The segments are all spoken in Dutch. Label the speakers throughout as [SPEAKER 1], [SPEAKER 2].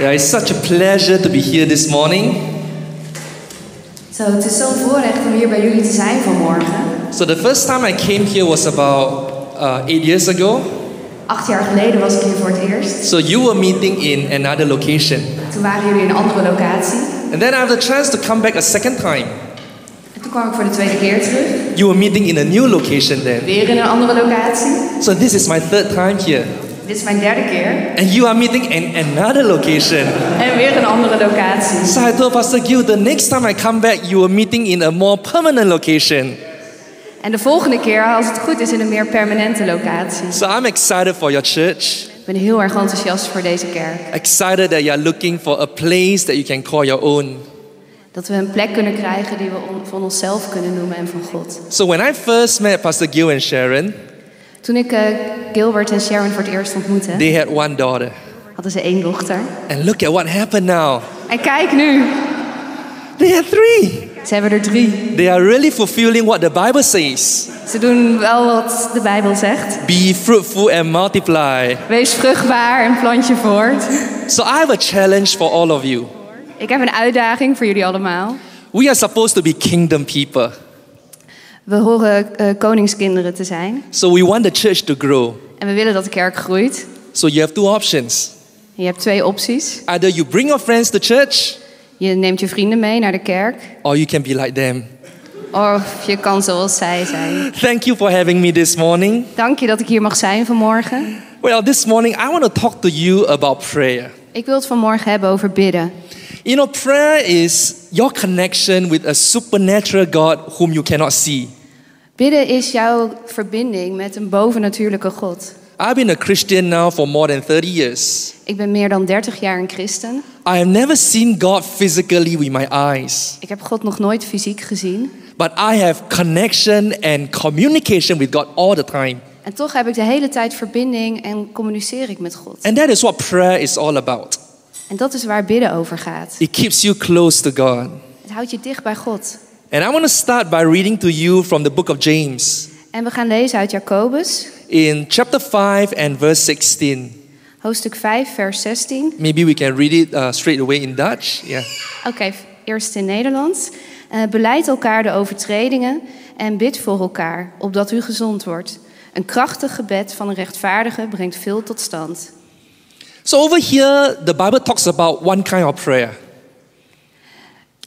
[SPEAKER 1] Yeah, it's such a pleasure to be here this morning.
[SPEAKER 2] Zo, het is zo'n voorrecht om hier bij jullie te zijn vanmorgen.
[SPEAKER 1] So, the first time I came here was about uh, eight years ago.
[SPEAKER 2] Acht jaar geleden was ik hier voor het eerst.
[SPEAKER 1] So, you were meeting in another location.
[SPEAKER 2] Toen waren jullie in een andere locatie.
[SPEAKER 1] And then I had the chance to come back a second time.
[SPEAKER 2] En toen kwam ik voor de tweede keer terug.
[SPEAKER 1] You were meeting in a new location then.
[SPEAKER 2] Weer in een andere locatie.
[SPEAKER 1] So, this is my third time here.
[SPEAKER 2] Dit is mijn derde keer.
[SPEAKER 1] And you are meeting in another location.
[SPEAKER 2] En weer een andere locatie.
[SPEAKER 1] So, I told Pastor Gil, the next time I come back, you were meeting in a more permanent location.
[SPEAKER 2] En de volgende keer, als het goed is, in een meer permanente locatie.
[SPEAKER 1] So, I'm excited for your church.
[SPEAKER 2] Ik ben heel erg enthousiast voor deze kerk.
[SPEAKER 1] Excited that you're looking for a place that you can call your own.
[SPEAKER 2] Dat we een plek kunnen krijgen die we on- van onszelf kunnen noemen en van God.
[SPEAKER 1] So when I first met Pastor Gil and Sharon,
[SPEAKER 2] Toen ik eh, Gilbert en Sharon voor het eerst ontmoette,
[SPEAKER 1] they had one daughter.
[SPEAKER 2] hadden ze één dochter.
[SPEAKER 1] And look at what happened now.
[SPEAKER 2] En kijk nu,
[SPEAKER 1] They had three.
[SPEAKER 2] ze hebben er drie.
[SPEAKER 1] They are really fulfilling what the Bible says.
[SPEAKER 2] Ze doen wel wat de Bijbel zegt.
[SPEAKER 1] Be fruitful and multiply.
[SPEAKER 2] Wees vruchtbaar en plant je voort.
[SPEAKER 1] So I have a challenge for all of you.
[SPEAKER 2] Ik heb een uitdaging voor jullie allemaal.
[SPEAKER 1] We are supposed to be kingdom people.
[SPEAKER 2] We horen eh, koningskinderen te zijn.
[SPEAKER 1] So we want the church to grow.
[SPEAKER 2] En we willen dat de kerk groeit.
[SPEAKER 1] So you have two options.
[SPEAKER 2] Je hebt twee opties.
[SPEAKER 1] Either you bring your friends to church
[SPEAKER 2] Je neemt je vrienden mee naar de kerk.
[SPEAKER 1] or you can be like them.
[SPEAKER 2] Of je kan zoals zij zijn.
[SPEAKER 1] Thank you for having me this morning.
[SPEAKER 2] Dank je dat ik hier mag zijn vanmorgen.
[SPEAKER 1] Well, this morning I want to talk to you about prayer.
[SPEAKER 2] Ik wil het vanmorgen hebben over bidden.
[SPEAKER 1] You know, prayer is your connection with a supernatural God whom you cannot see.
[SPEAKER 2] Bidden is jouw verbinding met een bovennatuurlijke God.
[SPEAKER 1] I've been a Christian now for more than 30 years.
[SPEAKER 2] Ik ben meer dan 30 jaar een christen.
[SPEAKER 1] I have never seen God physically with my eyes,
[SPEAKER 2] Ik heb God nog nooit fysiek gezien.
[SPEAKER 1] but I have connection and communication with God all the time.
[SPEAKER 2] En toch heb ik de hele tijd verbinding en communiceer ik met God.
[SPEAKER 1] And that is what prayer is all about.
[SPEAKER 2] En dat is waar bidden over gaat.
[SPEAKER 1] It keeps you close to God.
[SPEAKER 2] Het houdt je dicht bij God.
[SPEAKER 1] And I want to start by reading to you from the book of James
[SPEAKER 2] En we gaan lezen uit Jacobus,
[SPEAKER 1] in chapter 5 and verse 16.
[SPEAKER 2] hoofdstuk 5, vers 16.
[SPEAKER 1] Maybe we can read it uh, straight away in Dutch. Yeah.
[SPEAKER 2] Oké, eerst in Nederlands. Eh beleid elkaar de overtredingen en bid voor elkaar, opdat u gezond wordt. Een krachtig gebed van een rechtvaardige brengt veel tot stand.
[SPEAKER 1] So over here, the Bible talks about one kind of prayer.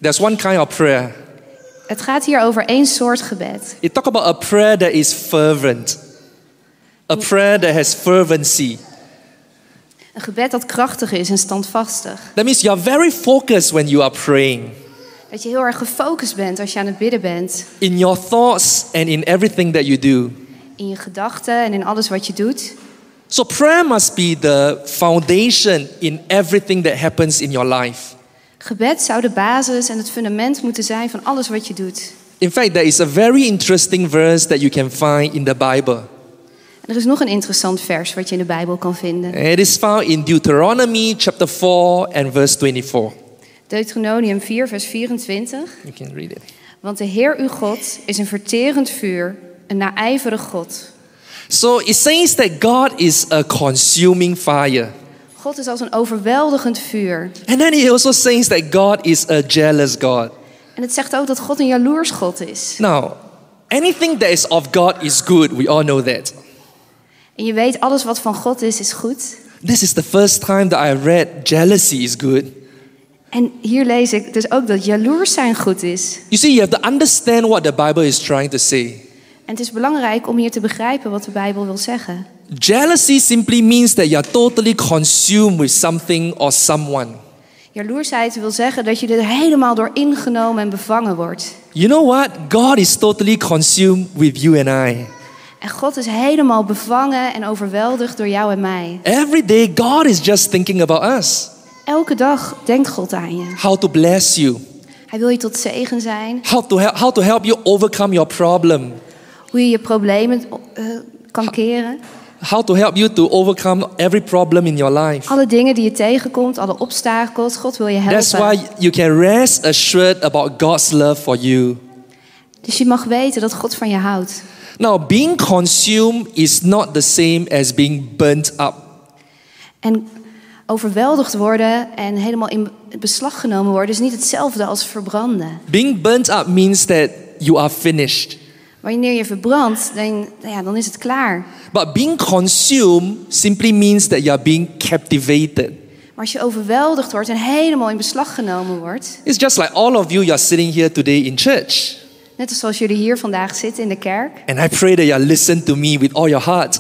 [SPEAKER 1] There's one kind of prayer.
[SPEAKER 2] Het gaat hier over één soort gebed.
[SPEAKER 1] It talks about a prayer that is fervent, a prayer that has fervency.
[SPEAKER 2] Een gebed dat krachtig is en standvastig.
[SPEAKER 1] That means you are very focused when you are praying,
[SPEAKER 2] Dat je heel erg gefocust bent als je aan het bidden bent.
[SPEAKER 1] in your thoughts and in everything that you do.
[SPEAKER 2] In je gedachten en in alles wat je doet.
[SPEAKER 1] So prayer must be the foundation in everything that happens in your life.
[SPEAKER 2] Gebed zou de basis en het fundament moeten zijn van alles wat je doet.
[SPEAKER 1] In fact, there is a very interesting verse that you can find in the Bible.
[SPEAKER 2] En er is nog een interessant vers wat je in de Bijbel kan vinden.
[SPEAKER 1] It is found in Deuteronomy chapter 4 and verse 24.
[SPEAKER 2] Deuteronomium 4, vers 24.
[SPEAKER 1] You can read it.
[SPEAKER 2] Want de Heer uw God is een verterend vuur, een naijverig God.
[SPEAKER 1] So it says that God is a consuming fire.
[SPEAKER 2] God is als een overweldigend vuur.
[SPEAKER 1] And then it also says that God is a jealous God.
[SPEAKER 2] En het zegt ook dat God een jaloers God is.
[SPEAKER 1] Now, anything that is of God is good. We all know that.
[SPEAKER 2] En je weet, alles wat van God is, is goed.
[SPEAKER 1] This is the first time that I read jealousy is good.
[SPEAKER 2] En hier lees ik dus ook dat jaloers zijn goed is.
[SPEAKER 1] You see, you have to understand what the Bible is trying to say.
[SPEAKER 2] En het is belangrijk om hier te begrijpen wat de Bijbel wil zeggen.
[SPEAKER 1] Jealousy simply means that you're totally consumed with something or someone.
[SPEAKER 2] Jaloersheid wil zeggen dat je er helemaal door ingenomen en bevangen wordt.
[SPEAKER 1] You know what? God is totally consumed with you and I.
[SPEAKER 2] En God is helemaal bevangen en overweldigd door jou en mij.
[SPEAKER 1] Every day, God is just thinking about us,
[SPEAKER 2] Elke dag denkt God aan je.
[SPEAKER 1] how to bless you,
[SPEAKER 2] Hij wil je tot zegen zijn.
[SPEAKER 1] how to help, how to help you overcome your problem,
[SPEAKER 2] Hoe je je problemen eh, kan keren.
[SPEAKER 1] how to help you to overcome every problem in your life.
[SPEAKER 2] Alle dingen die je tegenkomt, alle obstakels. God wil je
[SPEAKER 1] That's
[SPEAKER 2] helpen.
[SPEAKER 1] why you can rest assured about God's love for you.
[SPEAKER 2] Dus je mag weten dat God van je houdt.
[SPEAKER 1] Now, being consumed is not the same as being burnt up.
[SPEAKER 2] En overweldigd worden en helemaal in beslag genomen worden, is niet hetzelfde als verbranden.
[SPEAKER 1] Being burnt up means that you are finished.
[SPEAKER 2] Wanneer je verbrandt, dan, nou ja, dan is het klaar.
[SPEAKER 1] But being consumed simply means that you are being captivated.
[SPEAKER 2] Maar als je overweldigd wordt en helemaal in beslag genomen wordt,
[SPEAKER 1] It's just like all of you, you are sitting here today in church.
[SPEAKER 2] net als zoals jullie hier vandaag zitten in de kerk,
[SPEAKER 1] And I pray that you listen to me with all your heart.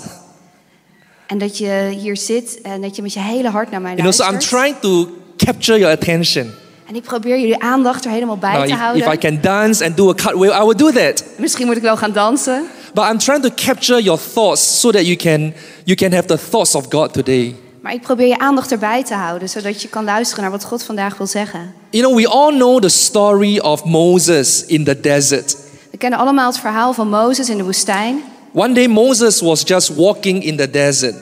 [SPEAKER 2] en dat je hier zit en dat je met je hele hart naar mij
[SPEAKER 1] You know, so I'm
[SPEAKER 2] luistert.
[SPEAKER 1] trying to capture your attention.
[SPEAKER 2] En ik probeer jullie aandacht er helemaal bij
[SPEAKER 1] Now,
[SPEAKER 2] te
[SPEAKER 1] Nou, if,
[SPEAKER 2] houden.
[SPEAKER 1] if I can dance and do a cartwheel, I will do that.
[SPEAKER 2] Misschien moet ik wel gaan dansen.
[SPEAKER 1] But I'm trying to capture your thoughts so that you can you can have the thoughts of God today.
[SPEAKER 2] Maar ik probeer je aandacht erbij te houden, zodat je kan luisteren naar wat God vandaag wil zeggen.
[SPEAKER 1] You know, we all know the story of Moses in the desert.
[SPEAKER 2] We kennen allemaal het verhaal van Mozes in de woestijn.
[SPEAKER 1] One day Moses was just walking in the desert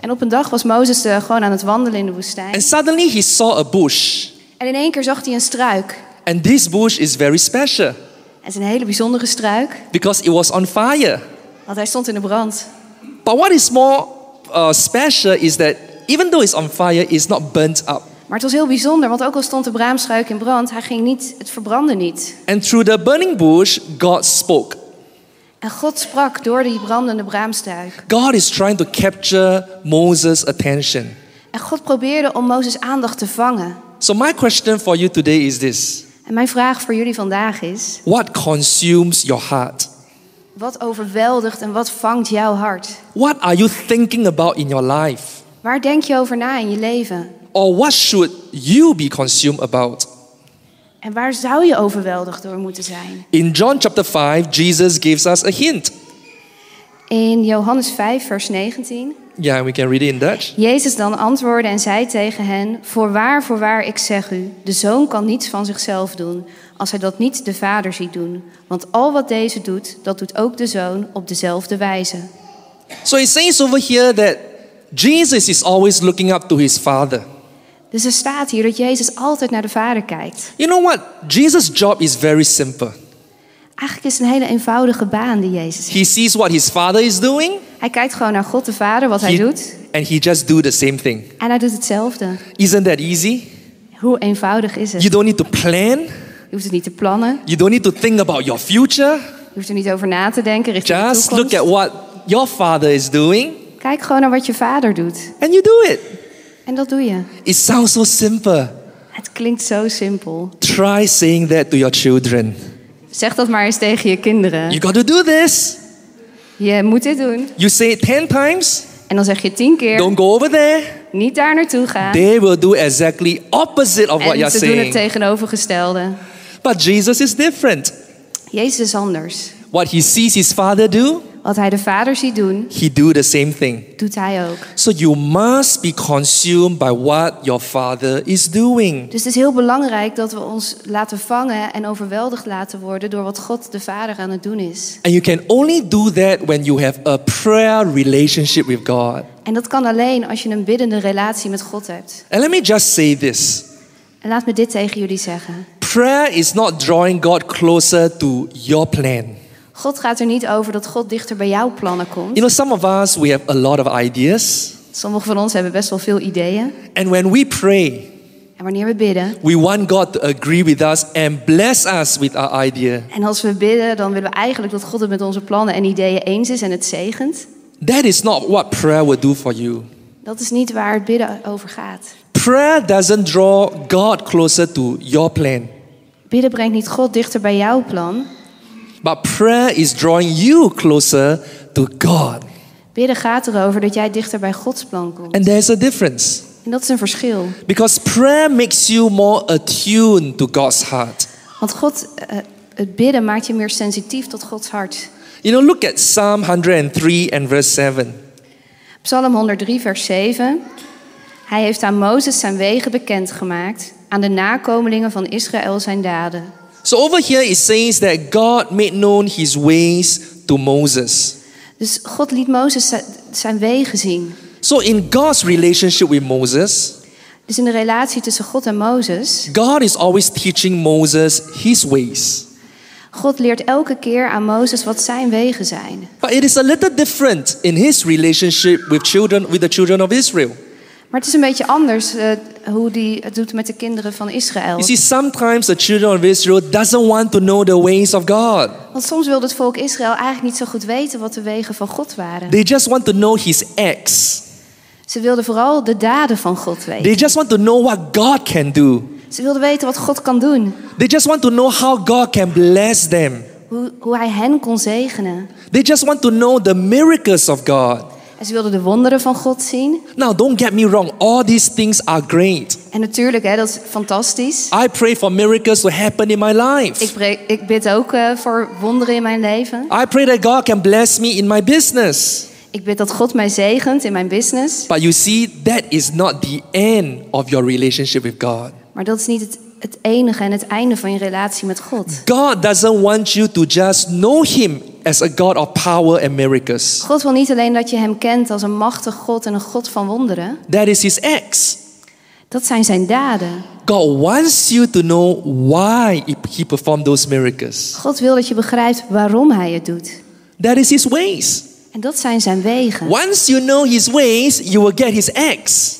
[SPEAKER 2] En op een dag was Mozes eh, gewoon aan het wandelen in de woestijn.
[SPEAKER 1] and suddenly he saw a bush.
[SPEAKER 2] En in één keer zag hij een struik.
[SPEAKER 1] And this bush is very special
[SPEAKER 2] Het is een hele bijzondere struik,
[SPEAKER 1] because it was on fire.
[SPEAKER 2] want hij stond in de brand.
[SPEAKER 1] But what is more uh, special is that even though it's on fire, it's not burnt up.
[SPEAKER 2] Maar het was heel bijzonder, want ook al stond de braamstruik in brand, hij ging niet, het verbrandde niet.
[SPEAKER 1] And through the burning bush, God spoke.
[SPEAKER 2] En God sprak door die brandende braamstruik.
[SPEAKER 1] God is trying to capture Moses' attention.
[SPEAKER 2] En God probeerde om Mozes aandacht te vangen.
[SPEAKER 1] So, my question for you today is this
[SPEAKER 2] En mijn vraag voor jullie vandaag is:
[SPEAKER 1] What consumes your heart?
[SPEAKER 2] wat overweldigt en wat vangt jouw hart?
[SPEAKER 1] What are you thinking about in your life?
[SPEAKER 2] Waar denk je over na in je leven?
[SPEAKER 1] Or what should you be consumed about?
[SPEAKER 2] En waar zou je overweldigd door moeten zijn?
[SPEAKER 1] In John chapter 5, Jesus gives us a hint.
[SPEAKER 2] In Johannes 5, vers 19.
[SPEAKER 1] Yeah, we can read it in Dutch.
[SPEAKER 2] Jezus dan antwoordde en zei tegen hen: Voorwaar, voorwaar, ik zeg u, de zoon kan niets van zichzelf doen, als hij dat niet de vader ziet doen. Want al wat deze doet, dat doet ook de zoon op dezelfde wijze.
[SPEAKER 1] So it says over here that Jesus is always looking up to his Father.
[SPEAKER 2] Dus er staat hier dat Jezus altijd naar de vader kijkt.
[SPEAKER 1] You know what? Jesus' job is very simple.
[SPEAKER 2] Eigenlijk is het een hele eenvoudige baan die Jezus heeft.
[SPEAKER 1] He sees what his Father is doing,
[SPEAKER 2] Hij kijkt gewoon naar God de Vader, wat hij
[SPEAKER 1] he-
[SPEAKER 2] doet,
[SPEAKER 1] and he just do the same thing.
[SPEAKER 2] en hij doet hetzelfde.
[SPEAKER 1] Isn't that easy?
[SPEAKER 2] Hoe eenvoudig is het?
[SPEAKER 1] You don't need to plan.
[SPEAKER 2] Je hoeft het niet te plannen,
[SPEAKER 1] You don't need to think about your future.
[SPEAKER 2] je hoeft er niet over na te denken richting de
[SPEAKER 1] Just
[SPEAKER 2] toekomst.
[SPEAKER 1] look at what your Father is doing,
[SPEAKER 2] Kijk gewoon naar wat je vader doet.
[SPEAKER 1] and you do it.
[SPEAKER 2] En dat doe je.
[SPEAKER 1] It sounds so simple.
[SPEAKER 2] Het klinkt zo simpel.
[SPEAKER 1] Try saying that to your children.
[SPEAKER 2] Zeg dat maar eens tegen je kinderen.
[SPEAKER 1] You got to do this.
[SPEAKER 2] Je moet dit doen.
[SPEAKER 1] You say it 10 times.
[SPEAKER 2] En dan zeg je tien keer,
[SPEAKER 1] Don't go over there.
[SPEAKER 2] niet daar naartoe gaan.
[SPEAKER 1] They will do exactly opposite of what you're
[SPEAKER 2] En ze doen het
[SPEAKER 1] saying.
[SPEAKER 2] tegenovergestelde.
[SPEAKER 1] But Jesus is different.
[SPEAKER 2] Jezus is anders.
[SPEAKER 1] What he sees his father do,
[SPEAKER 2] Wat hij de vader ziet doen,
[SPEAKER 1] he do the same thing.
[SPEAKER 2] doet hij ook.
[SPEAKER 1] So you must be consumed by what your father is doing.
[SPEAKER 2] Dus het is heel belangrijk dat we ons laten vangen en overweldigd laten worden door wat God de Vader aan het doen is.
[SPEAKER 1] And you can only do that when you have a prayer relationship with God.
[SPEAKER 2] En dat kan alleen als je een biddende relatie met God hebt.
[SPEAKER 1] And let me just say this.
[SPEAKER 2] En laat me dit tegen jullie zeggen.
[SPEAKER 1] Prayer is not drawing God closer to your plan.
[SPEAKER 2] God gaat er niet over dat God dichter bij jouw plannen komt.
[SPEAKER 1] You know, some of us, we have a lot of ideas.
[SPEAKER 2] Sommigen van ons hebben best wel veel ideeën.
[SPEAKER 1] And when we pray,
[SPEAKER 2] En wanneer we bidden,
[SPEAKER 1] we want God to agree with us and bless us with our idea.
[SPEAKER 2] en als we bidden, dan willen we eigenlijk dat God het met onze plannen en ideeën eens is en het zegent.
[SPEAKER 1] That is not what prayer will do for you.
[SPEAKER 2] Dat is niet waar het bidden over gaat.
[SPEAKER 1] Prayer doesn't draw God closer to your plan,
[SPEAKER 2] Bidden brengt niet God dichter bij jouw plan.
[SPEAKER 1] but prayer is drawing you closer to God.
[SPEAKER 2] Bidden gaat erover dat jij dichter bij Gods plan komt.
[SPEAKER 1] And there's a difference
[SPEAKER 2] En dat is een verschil.
[SPEAKER 1] because prayer makes you more attuned to God's heart.
[SPEAKER 2] Want God, eh, het bidden maakt je meer sensitief tot Gods hart.
[SPEAKER 1] You know, look at Psalm 103 and verse 7.
[SPEAKER 2] Psalm 103, vers 7. Hij heeft aan Mozes zijn wegen bekendgemaakt, aan de nakomelingen van Israël zijn daden.
[SPEAKER 1] So over here it says that God made known his ways to Moses.
[SPEAKER 2] Dus God liet Mozes zi- zijn wegen zien.
[SPEAKER 1] So in God's relationship with Moses,
[SPEAKER 2] Dus in de relatie tussen God en Mozes,
[SPEAKER 1] God is always teaching Moses his ways.
[SPEAKER 2] God leert elke keer aan Mozes wat zijn wegen zijn.
[SPEAKER 1] But it is a little different in his relationship with children with the children of Israel.
[SPEAKER 2] Maar het is een beetje anders eh, hoe die het doet met de kinderen van Israël.
[SPEAKER 1] You see, sometimes the children of Israel doesn't want to know the ways of God.
[SPEAKER 2] Want soms wilde het volk Israël eigenlijk niet zo goed weten wat de wegen van God waren.
[SPEAKER 1] They just want to know His acts.
[SPEAKER 2] Ze wilden vooral de daden van God weten.
[SPEAKER 1] They just want to know what God can do.
[SPEAKER 2] Ze wilden weten wat God kan doen.
[SPEAKER 1] They just want to know how God can bless them.
[SPEAKER 2] Hoe, hoe hij hen kon zegenen.
[SPEAKER 1] They just want to know the miracles of God.
[SPEAKER 2] En ze wilden de wonderen van God zien.
[SPEAKER 1] Now, don't get me wrong, all these things are great.
[SPEAKER 2] En natuurlijk, hè, dat is fantastisch.
[SPEAKER 1] I pray for miracles to happen in my life.
[SPEAKER 2] Ik, bre- ik bid ook eh, voor wonderen in mijn leven.
[SPEAKER 1] I pray that God can bless me in my business.
[SPEAKER 2] Ik bid dat God mij zegent in mijn business.
[SPEAKER 1] But you see, that is not the end of your relationship with God.
[SPEAKER 2] Maar dat is niet het, het enige en het einde van je relatie met God.
[SPEAKER 1] God doesn't want you to just know Him as a God of power and miracles.
[SPEAKER 2] God wil niet alleen dat je hem kent als een machtig God en een God van wonderen.
[SPEAKER 1] That is His acts.
[SPEAKER 2] Dat zijn zijn daden.
[SPEAKER 1] God wants you to know why He performed those miracles.
[SPEAKER 2] God wil dat je begrijpt waarom hij het doet.
[SPEAKER 1] That is His ways.
[SPEAKER 2] En dat zijn zijn wegen.
[SPEAKER 1] Once you know His ways, you will get His acts.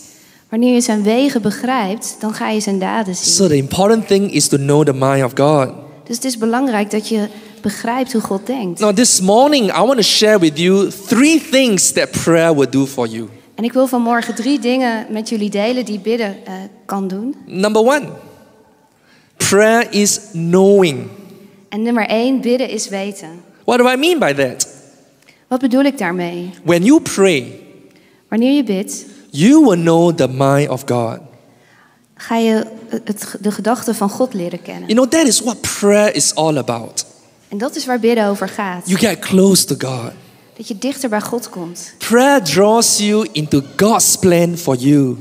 [SPEAKER 2] Wanneer je zijn wegen begrijpt, dan ga je zijn daden zien.
[SPEAKER 1] So the important thing is to know the mind of God.
[SPEAKER 2] Dus het is belangrijk dat je begrijpt hoe God denkt.
[SPEAKER 1] Now, this morning, I want to share with you three things that prayer will do for you.
[SPEAKER 2] En ik wil vanmorgen drie dingen met jullie delen die bidden eh, kan doen.
[SPEAKER 1] Number one, prayer is knowing.
[SPEAKER 2] En nummer één, bidden is weten.
[SPEAKER 1] What do I mean by that?
[SPEAKER 2] Wat bedoel ik daarmee?
[SPEAKER 1] When you pray,
[SPEAKER 2] Wanneer je bidt,
[SPEAKER 1] you will know the mind of God.
[SPEAKER 2] ga je het, de gedachten van God leren kennen.
[SPEAKER 1] You know, that is what prayer is all about.
[SPEAKER 2] En dat is waar bidden over gaat.
[SPEAKER 1] You get close to God.
[SPEAKER 2] Dat je dichter bij God komt.
[SPEAKER 1] Prayer draws you into God's plan for you.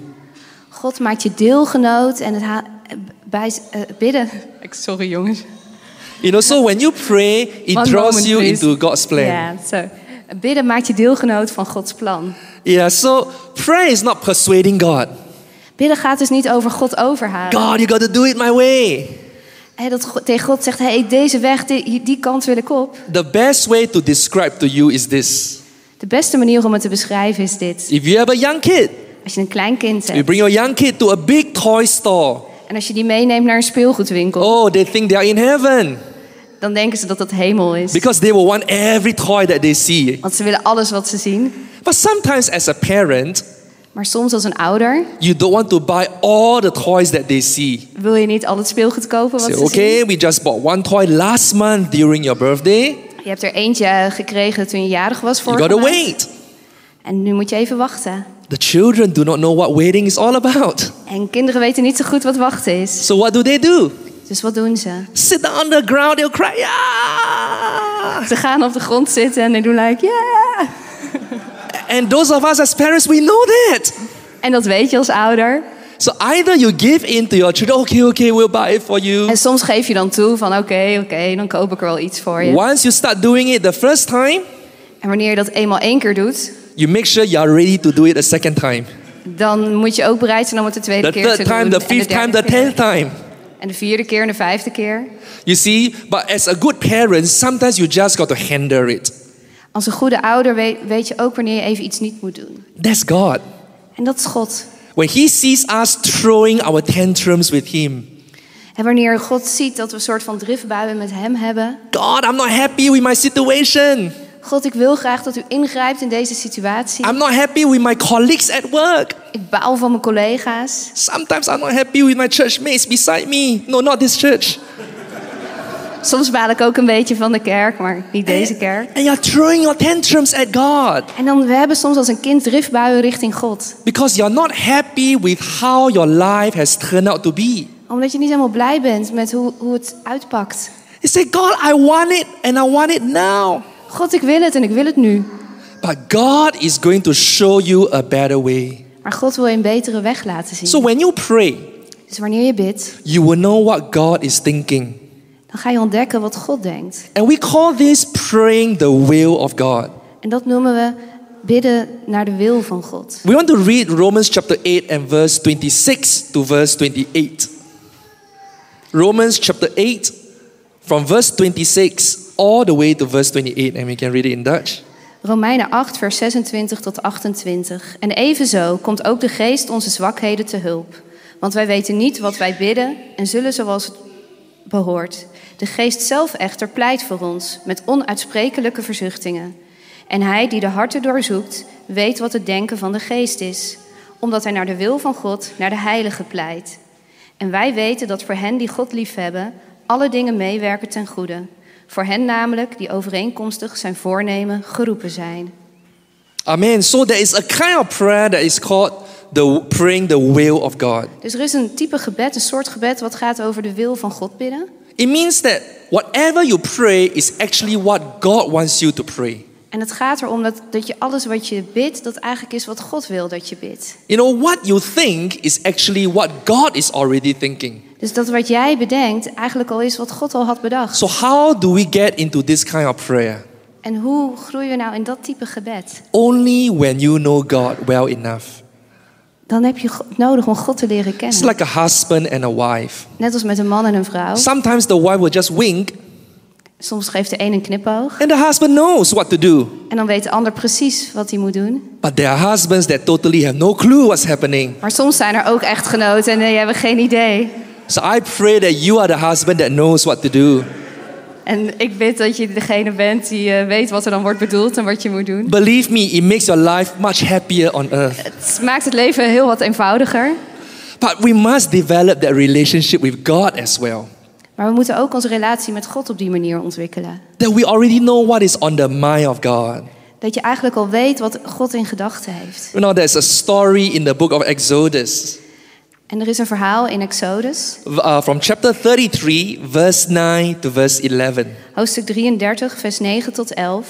[SPEAKER 2] God maakt je deelgenoot en het ha- eh, bij eh, bidden. Sorry jongens.
[SPEAKER 1] You know, so when you pray, it
[SPEAKER 2] One
[SPEAKER 1] draws
[SPEAKER 2] moment,
[SPEAKER 1] you
[SPEAKER 2] please.
[SPEAKER 1] into God's plan.
[SPEAKER 2] Ja, zo. Bidden maakt je deelgenoot van Gods plan.
[SPEAKER 1] Yeah. so prayer is not persuading God.
[SPEAKER 2] Bidden gaat dus niet over God overhalen.
[SPEAKER 1] God, you got to do it my way.
[SPEAKER 2] Hè, dat God, tegen God zegt, hey, deze weg, die, die kant wil ik op.
[SPEAKER 1] The best way to describe to you is this.
[SPEAKER 2] De beste manier om het te beschrijven is dit.
[SPEAKER 1] If you have a young kid,
[SPEAKER 2] Als je een klein kind
[SPEAKER 1] you
[SPEAKER 2] hebt
[SPEAKER 1] bring your young kid to a big toy store.
[SPEAKER 2] en als je die meeneemt naar een speelgoedwinkel,
[SPEAKER 1] Oh, they think they are in heaven
[SPEAKER 2] dan denken ze dat dat hemel is.
[SPEAKER 1] because they will want every toy that they see.
[SPEAKER 2] Want ze willen alles wat ze zien.
[SPEAKER 1] But sometimes, as a parent,
[SPEAKER 2] Maar soms als een ouder
[SPEAKER 1] you don't want to buy all the toys that they see.
[SPEAKER 2] wil je niet al het speelgoed kopen wat
[SPEAKER 1] Say,
[SPEAKER 2] ze zien.
[SPEAKER 1] okay, we just bought one toy last month during your birthday.
[SPEAKER 2] Je hebt er eentje eh, gekregen toen je jarig was
[SPEAKER 1] You
[SPEAKER 2] voor.
[SPEAKER 1] gotta wait.
[SPEAKER 2] En nu moet je even wachten.
[SPEAKER 1] The children do not know what waiting is all about.
[SPEAKER 2] En kinderen weten niet zo goed wat wachten is.
[SPEAKER 1] So what do they do?
[SPEAKER 2] Dus wat doen ze?
[SPEAKER 1] Sit down on the ground, they'll cry. "Ah!"
[SPEAKER 2] Ze gaan op de grond zitten en die doen like, ja.
[SPEAKER 1] And those of us as parents, we know that.
[SPEAKER 2] En dat weet je als ouder.
[SPEAKER 1] So either you give in to your children, okay, okay, we'll buy it for you.
[SPEAKER 2] En soms geef je dan toe van, oké, oké, dan koop ik er wel iets voor je.
[SPEAKER 1] Once you start doing it the first time,
[SPEAKER 2] En wanneer je dat eenmaal één keer doet,
[SPEAKER 1] you make sure you are ready to do it a second time.
[SPEAKER 2] dan moet je ook bereid zijn om het de tweede
[SPEAKER 1] The
[SPEAKER 2] keer te
[SPEAKER 1] third time,
[SPEAKER 2] doen.
[SPEAKER 1] the
[SPEAKER 2] en de
[SPEAKER 1] fifth time,
[SPEAKER 2] derde
[SPEAKER 1] the
[SPEAKER 2] keer.
[SPEAKER 1] tenth time.
[SPEAKER 2] En de vierde keer en de vijfde keer.
[SPEAKER 1] You see, but as a good parent, sometimes you just got to handle it.
[SPEAKER 2] Als een goede ouder weet, weet je ook wanneer je even iets niet moet doen.
[SPEAKER 1] That's God.
[SPEAKER 2] En dat is God.
[SPEAKER 1] When He sees us throwing our tantrums with Him,
[SPEAKER 2] En wanneer God ziet dat we een soort van driftbuien met hem hebben.
[SPEAKER 1] God, I'm not happy with my situation.
[SPEAKER 2] God, ik wil graag dat u ingrijpt in deze situatie.
[SPEAKER 1] I'm not happy with my colleagues at work.
[SPEAKER 2] Ik baal van mijn collega's.
[SPEAKER 1] Sometimes I'm not happy with my church mates beside me. No, not this church.
[SPEAKER 2] Soms baal ik ook een beetje van de kerk, maar niet
[SPEAKER 1] Eh.
[SPEAKER 2] deze kerk.
[SPEAKER 1] And you're throwing your tantrums at God
[SPEAKER 2] En dan, we hebben soms als een kind driftbuien richting God.
[SPEAKER 1] because you're not happy with how your life has turned out to be.
[SPEAKER 2] Omdat je niet helemaal blij bent met hoe, hoe het uitpakt.
[SPEAKER 1] You say, God, I want it and I want it now.
[SPEAKER 2] God, ik wil het en ik wil het nu.
[SPEAKER 1] But God is going to show you a better way.
[SPEAKER 2] Maar God wil je een betere weg laten zien.
[SPEAKER 1] So when you pray,
[SPEAKER 2] Dus wanneer je bidt,
[SPEAKER 1] you will know what God is thinking.
[SPEAKER 2] dan ga je ontdekken wat God denkt.
[SPEAKER 1] And we call this praying the will of God.
[SPEAKER 2] En dat noemen we bidden naar de wil van God.
[SPEAKER 1] We want to read Romans chapter 8 and verse 26 to verse 28. Romans chapter 8, from verse 26 all the way to verse 28, and we can read it in Dutch.
[SPEAKER 2] Romeinen 8, vers 26 tot 28. En evenzo komt ook de geest onze zwakheden te hulp. Want wij weten niet wat wij bidden en zullen zoals het behoort. De geest zelf echter pleit voor ons met onuitsprekelijke verzuchtingen. En hij die de harten doorzoekt, weet wat het denken van de geest is, omdat hij naar de wil van God, naar de heilige pleit. En wij weten dat voor hen die God liefhebben, alle dingen meewerken ten goede. Voor hen namelijk die overeenkomstig zijn voornemen geroepen zijn.
[SPEAKER 1] Amen. So there is a kind of prayer that is called the praying the will of God.
[SPEAKER 2] Dus er is een type gebed, een soort gebed wat gaat over de wil van God bidden.
[SPEAKER 1] It means that whatever you pray is actually what God wants you to pray.
[SPEAKER 2] En het gaat erom dat, dat je alles wat je bidt, dat eigenlijk is wat God wil dat je bidt.
[SPEAKER 1] You know what you think is actually what God is already thinking.
[SPEAKER 2] Dus dat wat jij bedenkt eigenlijk al is wat God al had bedacht.
[SPEAKER 1] So how do we get into this kind of prayer?
[SPEAKER 2] En hoe groeien we nou in dat type gebed?
[SPEAKER 1] Only when you know God well enough.
[SPEAKER 2] Dan heb je God nodig om God te leren
[SPEAKER 1] It's
[SPEAKER 2] kennen.
[SPEAKER 1] like a husband and a wife.
[SPEAKER 2] Net als met een man en een vrouw.
[SPEAKER 1] Sometimes the wife will just wink
[SPEAKER 2] Soms geeft de een een knipoog
[SPEAKER 1] and the husband knows what to do.
[SPEAKER 2] en dan weet de ander precies wat hij moet doen.
[SPEAKER 1] But there are husbands that totally have no clue what's happening.
[SPEAKER 2] Maar soms zijn er ook echtgenoten en die hebben geen idee.
[SPEAKER 1] So I pray that you are the husband that knows what to do.
[SPEAKER 2] En ik bid dat je degene bent die eh, weet wat er dan wordt bedoeld en wat je moet doen.
[SPEAKER 1] Believe me, it makes your life much happier on earth.
[SPEAKER 2] Het maakt het leven heel wat eenvoudiger.
[SPEAKER 1] But we must develop that relationship with God as well.
[SPEAKER 2] Maar we moeten ook onze relatie met God op die manier ontwikkelen.
[SPEAKER 1] That we already know what is on the mind of God.
[SPEAKER 2] Dat je eigenlijk al weet wat God in gedachten heeft.
[SPEAKER 1] You know, there's a story in the book of Exodus
[SPEAKER 2] En er is een verhaal in Exodus,
[SPEAKER 1] uh, from chapter 33, verse 9 to verse 11.
[SPEAKER 2] hoofdstuk 33, vers 9 tot 11.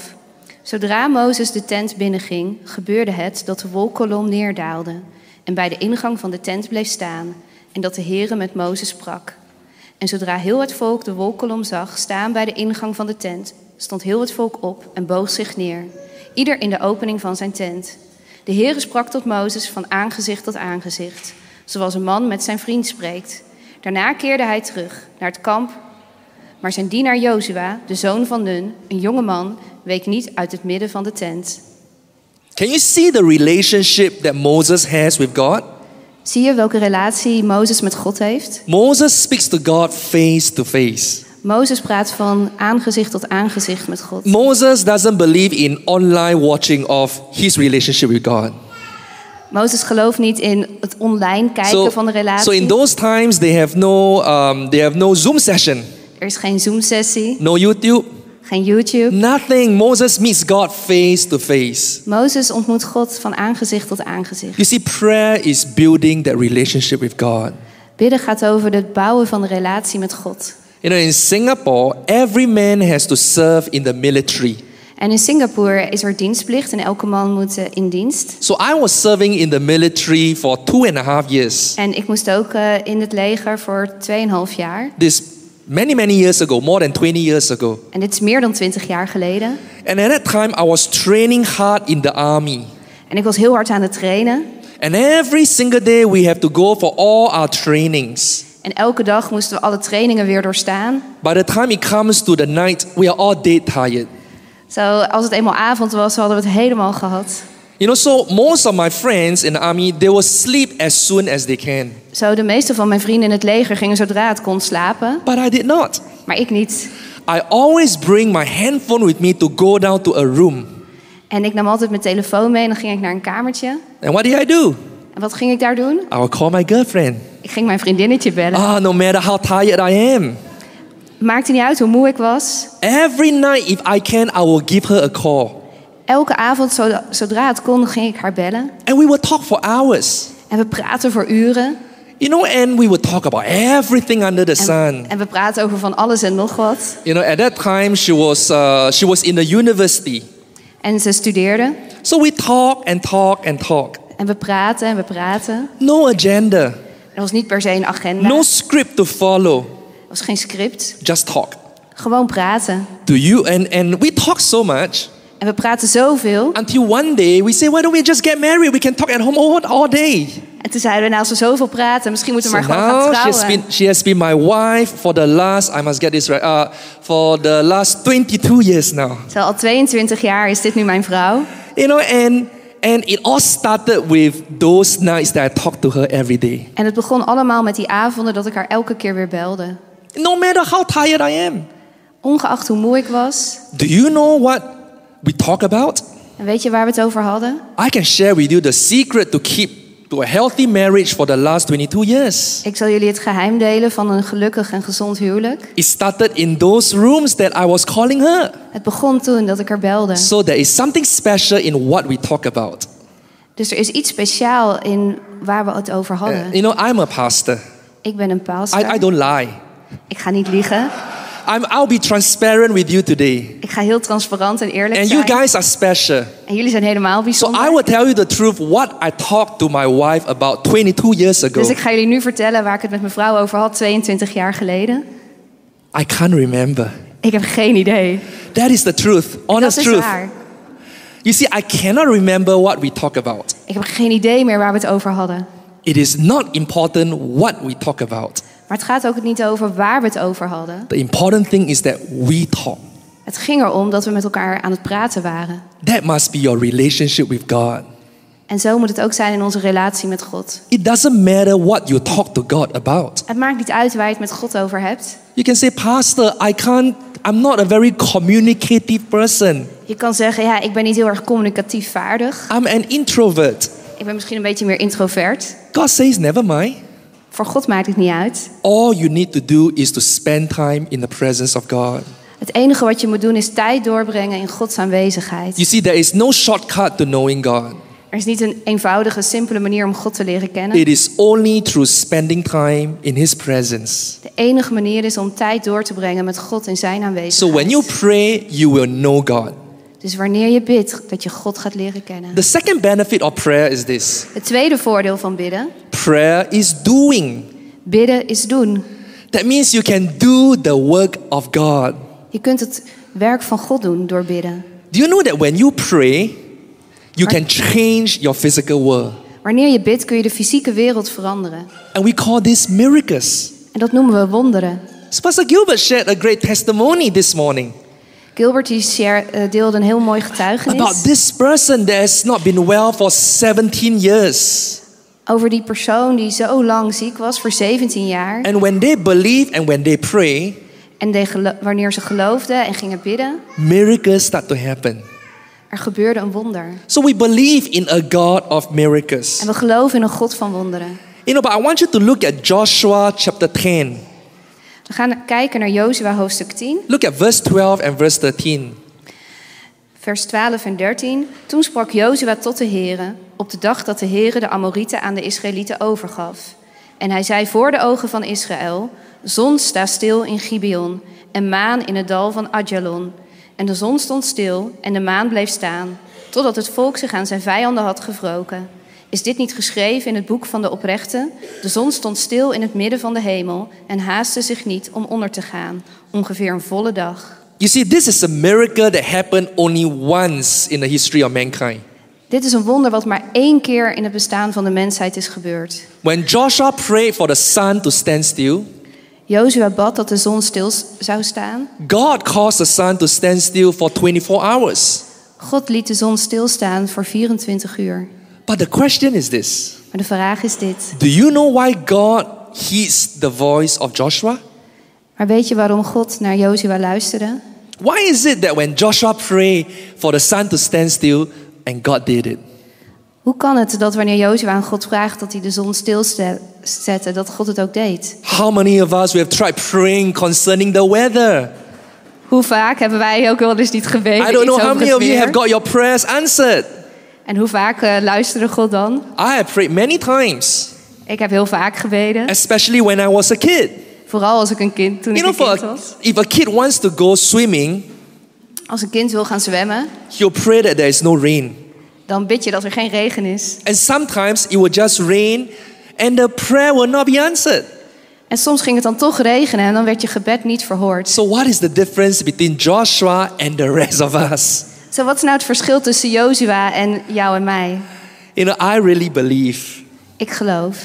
[SPEAKER 2] Zodra Mozes de tent binnenging, gebeurde het dat de wolkkolom neerdaalde en bij de ingang van de tent bleef staan en dat de Heere met Mozes sprak. En zodra heel het volk de wolkkolom zag staan bij de ingang van de tent, stond heel het volk op en boog zich neer, ieder in de opening van zijn tent. De Heere sprak tot Mozes van aangezicht tot aangezicht, zoals een man met zijn vriend spreekt. Daarna keerde hij terug naar het kamp, maar zijn dienaar Jozua, de zoon van Nun, een jonge man, week niet uit het midden van de tent.
[SPEAKER 1] Can you see the relationship that Moses has with God?
[SPEAKER 2] Zie je welke relatie Mozes met God heeft?
[SPEAKER 1] Moses speaks to God face to face.
[SPEAKER 2] Mozes praat van aangezicht tot aangezicht met God.
[SPEAKER 1] Moses doesn't believe in online watching of his relationship with God.
[SPEAKER 2] Mozes gelooft niet in het online kijken van de
[SPEAKER 1] so in
[SPEAKER 2] relatie.
[SPEAKER 1] those times they have no um, they have no Zoom session,
[SPEAKER 2] er is geen Zoom-sessie,
[SPEAKER 1] no YouTube,
[SPEAKER 2] geen YouTube.
[SPEAKER 1] nothing. Moses meets God face to face.
[SPEAKER 2] Mozes ontmoet God van aangezicht tot aangezicht.
[SPEAKER 1] You see, prayer is building that relationship with God.
[SPEAKER 2] Bidden gaat over het bouwen van de relatie met God.
[SPEAKER 1] You know, in Singapore, every man has to serve in the military.
[SPEAKER 2] En in Singapore is er dienstplicht en elke man moet eh, in dienst.
[SPEAKER 1] So I was serving in the military for two and a half years.
[SPEAKER 2] En ik moest ook eh, in het leger voor 2,5 jaar.
[SPEAKER 1] This many, many years ago, more than 20 years ago.
[SPEAKER 2] En dit is meer dan 20 jaar geleden.
[SPEAKER 1] And at that time, I was training hard in the army.
[SPEAKER 2] En ik was heel hard aan het trainen.
[SPEAKER 1] And every single day, we have to go for all our trainings.
[SPEAKER 2] En elke dag moesten we alle trainingen weer doorstaan.
[SPEAKER 1] By the time it comes to the night, we are all dead tired.
[SPEAKER 2] Zo, als het eenmaal avond was, hadden we het helemaal gehad.
[SPEAKER 1] You know, so most of my friends in the army, they will sleep as soon as they can.
[SPEAKER 2] Zo, de meeste van mijn vrienden in het leger gingen zodra het kon slapen.
[SPEAKER 1] But I did not.
[SPEAKER 2] Maar ik niet.
[SPEAKER 1] I always bring my handphone with me to go down to a room.
[SPEAKER 2] En ik nam altijd mijn telefoon mee en dan ging ik naar een kamertje.
[SPEAKER 1] And what did I do?
[SPEAKER 2] En wat ging ik daar doen?
[SPEAKER 1] I will call my girlfriend.
[SPEAKER 2] Ik ging mijn vriendinnetje bellen.
[SPEAKER 1] Ah, no matter how tired I am.
[SPEAKER 2] Maakte niet uit hoe moe ik was.
[SPEAKER 1] Every night, if I can, I will give her a call.
[SPEAKER 2] Elke avond, zo- zodra het kon, ging ik haar bellen.
[SPEAKER 1] And we will talk for hours.
[SPEAKER 2] En we praten voor uren.
[SPEAKER 1] You know, and we would talk about everything under the sun.
[SPEAKER 2] En we praten over van alles en nog wat.
[SPEAKER 1] You know, at that time, she was, uh, she was in the university.
[SPEAKER 2] En ze studeerde.
[SPEAKER 1] So we talk and talk and talk.
[SPEAKER 2] En we praten en we praten.
[SPEAKER 1] No agenda,
[SPEAKER 2] Er was niet per se een agenda.
[SPEAKER 1] no script to follow,
[SPEAKER 2] Er was geen script.
[SPEAKER 1] just talk.
[SPEAKER 2] Gewoon praten.
[SPEAKER 1] Do you? And, and we talk so much
[SPEAKER 2] En we praten zoveel.
[SPEAKER 1] until one day we say, why don't we just get married? We can talk at home all, all day.
[SPEAKER 2] En En toen zeiden we, nou als we zoveel praten, misschien moeten we
[SPEAKER 1] So
[SPEAKER 2] maar gewoon gaan
[SPEAKER 1] now she has,
[SPEAKER 2] trouwen.
[SPEAKER 1] been, she has been my wife for the last, I must get this right, uh, for the last 22 years now.
[SPEAKER 2] Zo, al 22 jaar is dit nu mijn vrouw.
[SPEAKER 1] You know, and, and it all started with those nights that I talked to her every day.
[SPEAKER 2] En het begon allemaal met die avonden dat ik haar elke keer weer belde.
[SPEAKER 1] No matter how tired I am.
[SPEAKER 2] Ongeacht hoe moe ik was.
[SPEAKER 1] Do you know what we talk about?
[SPEAKER 2] En weet je waar we het over hadden?
[SPEAKER 1] I can share with you the secret to keep to a healthy marriage for the last 22 years.
[SPEAKER 2] Ik zal jullie het geheim delen van een gelukkig en gezond huwelijk.
[SPEAKER 1] It started in those rooms that I was calling her.
[SPEAKER 2] Het begon toen dat ik haar belde.
[SPEAKER 1] So there is something special in what we talk about.
[SPEAKER 2] Dus er is iets speciaal in waar we het over
[SPEAKER 1] Uh,
[SPEAKER 2] hadden.
[SPEAKER 1] you know, I'm a pastor.
[SPEAKER 2] Ik ben een pastor.
[SPEAKER 1] I, I don't lie.
[SPEAKER 2] Ik ga niet liegen.
[SPEAKER 1] I'm, I'll be transparant with you today.
[SPEAKER 2] Ik ga heel transparant en eerlijk
[SPEAKER 1] And you
[SPEAKER 2] zijn.
[SPEAKER 1] guys are special.
[SPEAKER 2] En jullie zijn helemaal
[SPEAKER 1] So
[SPEAKER 2] bijzonder.
[SPEAKER 1] I will tell you the truth what I talked to my wife about 22 years ago.
[SPEAKER 2] Dus ik ga jullie nu vertellen waar ik het met mijn vrouw over had 22 jaar geleden.
[SPEAKER 1] I can't remember.
[SPEAKER 2] Ik heb geen idee.
[SPEAKER 1] That is the truth,
[SPEAKER 2] Dat
[SPEAKER 1] honest
[SPEAKER 2] is
[SPEAKER 1] truth.
[SPEAKER 2] waar.
[SPEAKER 1] You see, I cannot remember what we talk about.
[SPEAKER 2] Ik heb geen idee meer waar we het over hadden.
[SPEAKER 1] It is not important what we talk about.
[SPEAKER 2] Maar het gaat ook niet over waar we het over hadden.
[SPEAKER 1] The important thing is that we talk.
[SPEAKER 2] Het ging erom dat we met elkaar aan het praten waren.
[SPEAKER 1] That must be your relationship with God.
[SPEAKER 2] En zo moet het ook zijn in onze relatie met God.
[SPEAKER 1] It doesn't matter what you talk to God about.
[SPEAKER 2] Het maakt niet uit waar je het met God over hebt.
[SPEAKER 1] You can say, Pastor, I can't, I'm not a very communicative person.
[SPEAKER 2] Je kan zeggen, ja, ik ben niet heel erg communicatief vaardig.
[SPEAKER 1] I'm an introvert.
[SPEAKER 2] Ik ben misschien een beetje meer introvert.
[SPEAKER 1] God says, never mind.
[SPEAKER 2] Voor God maakt het niet uit.
[SPEAKER 1] All you need to do is to spend time in the presence of God.
[SPEAKER 2] Het enige wat je moet doen is tijd doorbrengen in Gods aanwezigheid.
[SPEAKER 1] You see, there is no shortcut to knowing God.
[SPEAKER 2] Er is niet een eenvoudige, simpele manier om God te leren kennen.
[SPEAKER 1] It is only through spending time in His presence.
[SPEAKER 2] De enige manier is om tijd door te brengen met God in zijn
[SPEAKER 1] So when
[SPEAKER 2] aanwezigheid.
[SPEAKER 1] you pray, you will know God.
[SPEAKER 2] Dus wanneer je bidt, dat je God gaat leren kennen.
[SPEAKER 1] The second benefit of prayer is this
[SPEAKER 2] Het tweede voordeel van bidden.
[SPEAKER 1] prayer is doing.
[SPEAKER 2] Bidden is doen.
[SPEAKER 1] That means you can do the work of God.
[SPEAKER 2] Je kunt het werk van God doen door bidden.
[SPEAKER 1] Do you know that when you pray, you can change your physical world?
[SPEAKER 2] Wanneer je bidt kun je de fysieke wereld veranderen.
[SPEAKER 1] And we call this miracles.
[SPEAKER 2] En dat noemen we wonderen.
[SPEAKER 1] Pastor Gilbert shared a great testimony this morning
[SPEAKER 2] Gilbert die share- eh, deelde een heel mooi
[SPEAKER 1] about
[SPEAKER 2] getuigenis
[SPEAKER 1] this person that has not been well for 17 years.
[SPEAKER 2] over die persoon die zo lang ziek was, voor 17 jaar.
[SPEAKER 1] And when they believe and when they pray,
[SPEAKER 2] En die gelo- wanneer ze geloofden en gingen bidden,
[SPEAKER 1] miracles start to happen.
[SPEAKER 2] er gebeurde een wonder.
[SPEAKER 1] So we believe in a God of miracles.
[SPEAKER 2] En we geloven in een God van wonderen.
[SPEAKER 1] You know, but I want you to look at Joshua chapter 10.
[SPEAKER 2] We gaan kijken naar Jozua hoofdstuk 10,
[SPEAKER 1] Look at verse 12 and verse 13.
[SPEAKER 2] vers 12 en 13. Toen sprak Jozua tot de heren op de dag dat de heren de Amorieten aan de Israëlieten overgaf. En hij zei voor de ogen van Israël, zon sta stil in Gibeon en maan in het dal van Adjalon. En de zon stond stil en de maan bleef staan, totdat het volk zich aan zijn vijanden had gewroken. Is dit niet geschreven in het boek van de oprechten? De zon stond stil in het midden van de hemel en haastte zich niet om onder te gaan, ongeveer een volle dag.
[SPEAKER 1] You see, this is a miracle that happened only once in the history of mankind.
[SPEAKER 2] Dit is een wonder wat maar één keer in het bestaan van de mensheid is gebeurd.
[SPEAKER 1] When Joshua prayed for the sun to stand still,
[SPEAKER 2] Jozua bad dat de zon stil s- zou staan.
[SPEAKER 1] God caused the sun to stand still for 24 hours.
[SPEAKER 2] God liet de zon stilstaan voor 24 uur.
[SPEAKER 1] But the question is this
[SPEAKER 2] Maar de vraag is dit.
[SPEAKER 1] Do you know why God heeds the voice of Joshua?
[SPEAKER 2] Maar weet je waarom God naar Jozua luisterde?
[SPEAKER 1] Why is it that when Joshua prayed for the sun to stand still and God did it?
[SPEAKER 2] Hoe kan het dat wanneer Jozua aan God vraagt dat hij de zon stilzette, dat God het ook deed?
[SPEAKER 1] How many of us we have tried praying concerning the weather?
[SPEAKER 2] Hoe vaak hebben wij ook wel eens niet gebeden?
[SPEAKER 1] I don't know
[SPEAKER 2] iets
[SPEAKER 1] how
[SPEAKER 2] over
[SPEAKER 1] many
[SPEAKER 2] het
[SPEAKER 1] of you
[SPEAKER 2] weer?
[SPEAKER 1] have got your prayers answered.
[SPEAKER 2] En hoe vaak eh, luisterde God dan?
[SPEAKER 1] I have prayed many times,
[SPEAKER 2] Ik heb heel vaak gebeden.
[SPEAKER 1] especially when I was a kid.
[SPEAKER 2] Vooral als ik een kind, toen
[SPEAKER 1] You
[SPEAKER 2] ik
[SPEAKER 1] know,
[SPEAKER 2] een
[SPEAKER 1] for
[SPEAKER 2] kind
[SPEAKER 1] a,
[SPEAKER 2] was.
[SPEAKER 1] if a kid wants to go swimming,
[SPEAKER 2] Als een kind wil gaan zwemmen,
[SPEAKER 1] he'll pray that there is no rain.
[SPEAKER 2] dan bid je dat er geen regen is.
[SPEAKER 1] And sometimes it will just rain and the prayer will not be answered.
[SPEAKER 2] En soms ging het dan toch regenen en dan werd je gebed niet verhoord.
[SPEAKER 1] So, what is the difference between Joshua and the rest of us?
[SPEAKER 2] Zo, wat is nou het verschil tussen Jozua en jou en mij?
[SPEAKER 1] You know, I really believe
[SPEAKER 2] Ik geloof.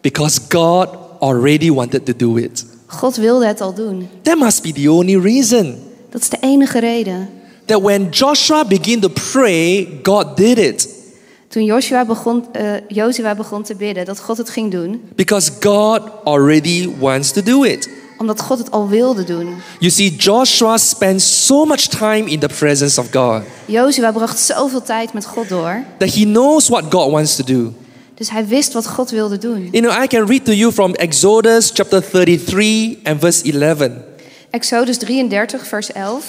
[SPEAKER 1] because God already wanted to do it.
[SPEAKER 2] God wilde het al doen.
[SPEAKER 1] That must be the only reason
[SPEAKER 2] Dat is de enige reden.
[SPEAKER 1] that when Joshua began to pray, God did it
[SPEAKER 2] Toen Joshua begon, eh, Joshua begon te bidden dat God het ging doen,
[SPEAKER 1] because God already wants to do it.
[SPEAKER 2] omdat God het al wilde doen.
[SPEAKER 1] You see, Joshua spent so much time in the presence of God
[SPEAKER 2] Joshua bracht zoveel tijd met God door,
[SPEAKER 1] that he knows what God wants to do.
[SPEAKER 2] dus hij wist wat God wilde doen.
[SPEAKER 1] You know, I can read to you from Exodus chapter 33 and verse 11.
[SPEAKER 2] Exodus 33, vers 11.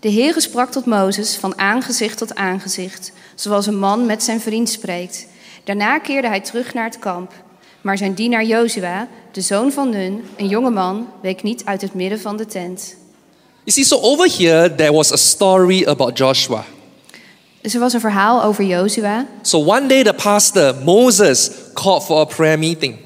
[SPEAKER 2] De Heere sprak tot Mozes van aangezicht tot aangezicht, zoals een man met zijn vriend spreekt. Daarna keerde hij terug naar het kamp. Maar zijn dienaar Jozua, de zoon van Nun, een jonge man, week niet uit het midden van de tent.
[SPEAKER 1] You see, so over here, there was a story about Joshua.
[SPEAKER 2] Dus er was een verhaal over Jozua.
[SPEAKER 1] So one day, the pastor, Moses, called for a prayer meeting.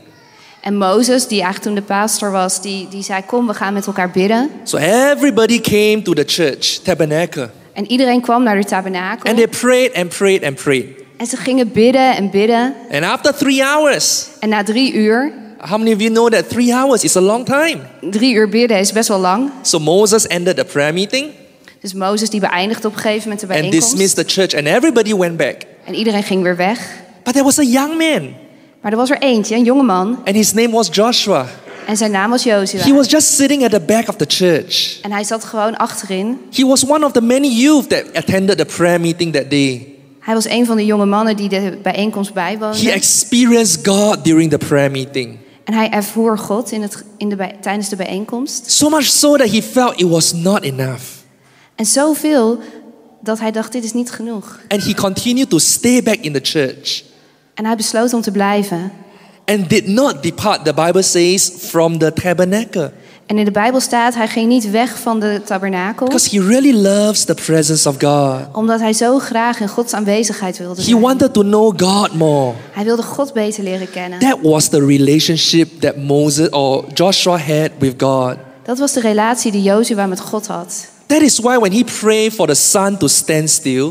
[SPEAKER 2] En Mozes, die eigenlijk toen de pastor was, die, die zei, kom, we gaan met elkaar bidden.
[SPEAKER 1] So everybody came to the church, tabernacle,
[SPEAKER 2] En iedereen kwam naar de
[SPEAKER 1] and they
[SPEAKER 2] tabernakel.
[SPEAKER 1] prayed and prayed and prayed.
[SPEAKER 2] En ze gingen bidden en bidden.
[SPEAKER 1] And after three hours,
[SPEAKER 2] En na drie uur,
[SPEAKER 1] how many of you know that three hours is a long time?
[SPEAKER 2] drie uur bidden is best wel lang.
[SPEAKER 1] So Moses ended the prayer meeting
[SPEAKER 2] Dus Mozes die beëindigde op een gegeven moment de
[SPEAKER 1] and
[SPEAKER 2] bijeenkomst.
[SPEAKER 1] dismissed the church, and everybody went back.
[SPEAKER 2] En iedereen ging weer weg.
[SPEAKER 1] But there was a young man,
[SPEAKER 2] Maar er was er eentje, een jongeman.
[SPEAKER 1] and his name was Joshua.
[SPEAKER 2] En zijn naam was
[SPEAKER 1] He
[SPEAKER 2] Jozua.
[SPEAKER 1] was just sitting at the back of the church.
[SPEAKER 2] En hij zat gewoon achterin.
[SPEAKER 1] He was one of the many youth that attended the prayer meeting that day.
[SPEAKER 2] Hij was een van de jonge mannen die de bijeenkomst bijwoonde.
[SPEAKER 1] He experienced God during the prayer meeting.
[SPEAKER 2] En hij ervoer God in het, in de, bij- tijdens de bijeenkomst.
[SPEAKER 1] So much so that he felt it was not enough.
[SPEAKER 2] En zoveel dat hij dacht, dit is niet genoeg.
[SPEAKER 1] And he continued to stay back in the church
[SPEAKER 2] En hij besloot om te blijven.
[SPEAKER 1] and did not depart, the Bible says, from the tabernacle.
[SPEAKER 2] En in de Bijbel staat, hij ging niet weg van de tabernakel.
[SPEAKER 1] Because he really loves the presence of God.
[SPEAKER 2] Omdat hij zo graag in Gods aanwezigheid wilde
[SPEAKER 1] He
[SPEAKER 2] zijn.
[SPEAKER 1] wanted to know God more.
[SPEAKER 2] Hij wilde God beter leren kennen.
[SPEAKER 1] That was the relationship that Moses or Joshua had with God.
[SPEAKER 2] Dat was de relatie die Jozua met God had.
[SPEAKER 1] That is why when he prayed for the sun to stand still,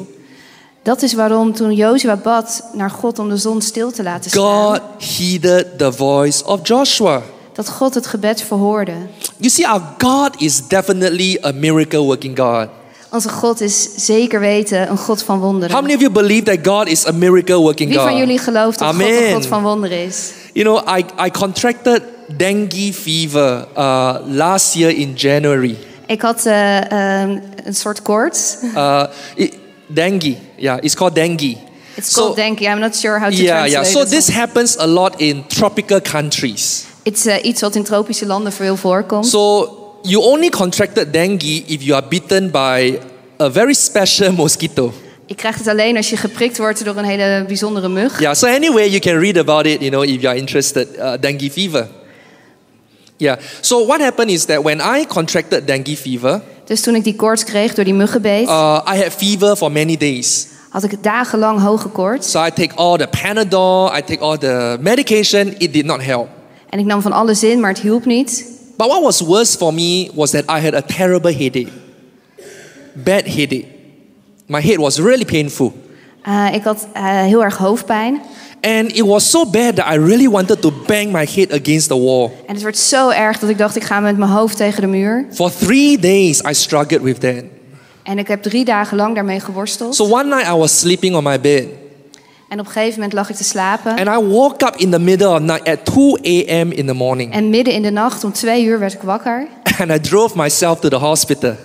[SPEAKER 2] Dat is waarom toen Jozua bad naar God om de zon stil te laten staan,
[SPEAKER 1] God heeded the voice of Joshua.
[SPEAKER 2] dat God het gebed verhoorde.
[SPEAKER 1] You see, our God is definitely a miracle working God.
[SPEAKER 2] Onze God is zeker weten een God van
[SPEAKER 1] How
[SPEAKER 2] wonderen.
[SPEAKER 1] many of you believe that God is a miracle working
[SPEAKER 2] Wie
[SPEAKER 1] God?
[SPEAKER 2] van jullie gelooft dat God een
[SPEAKER 1] Amen.
[SPEAKER 2] God van wonderen is?
[SPEAKER 1] You know, I, I contracted dengue fever uh, last year in January.
[SPEAKER 2] Ik had eh, ehm, een soort koorts.
[SPEAKER 1] Uh, it, dengue, yeah, it's called dengue.
[SPEAKER 2] It's called denk dengue. I'm not sure how to
[SPEAKER 1] Yeah, yeah.
[SPEAKER 2] translate
[SPEAKER 1] So
[SPEAKER 2] it.
[SPEAKER 1] this happens a lot in tropical countries.
[SPEAKER 2] It's eh, iets wat in tropische landen veel voorkomt.
[SPEAKER 1] So you only contracted dengue if you are bitten by a very special mosquito.
[SPEAKER 2] Je krijgt het alleen als je geprikt wordt door een hele bijzondere mug.
[SPEAKER 1] Yeah, so anyway, you can read about it, you know, if you're interested, uh, dengue fever. Yeah, so what happened is that when I contracted dengue fever,
[SPEAKER 2] Dus toen ik die koorts kreeg door die muggenbeet,
[SPEAKER 1] uh, I had fever for many days.
[SPEAKER 2] had ik dagenlang hoge koorts.
[SPEAKER 1] So I take all the Panadol, I take all the medication, it did not help.
[SPEAKER 2] En ik nam van alles in, maar het hielp niet.
[SPEAKER 1] But what was worse for me was that I had a terrible headache. Bad headache. My head was really painful.
[SPEAKER 2] Eh, ik had eh, heel erg hoofdpijn.
[SPEAKER 1] And it was so bad that I really wanted to bang my head against the wall.
[SPEAKER 2] En het werd zo erg dat ik dacht, ik ga met mijn hoofd tegen de muur.
[SPEAKER 1] For three days, I struggled with that.
[SPEAKER 2] En ik heb drie dagen lang daarmee geworsteld.
[SPEAKER 1] So one night, I was sleeping on my bed.
[SPEAKER 2] En op een gegeven moment lag ik te slapen.
[SPEAKER 1] And I woke up in the middle of night at 2 a.m. in the morning.
[SPEAKER 2] En midden in de nacht, om twee uur, werd ik wakker.
[SPEAKER 1] And I drove myself to the hospital.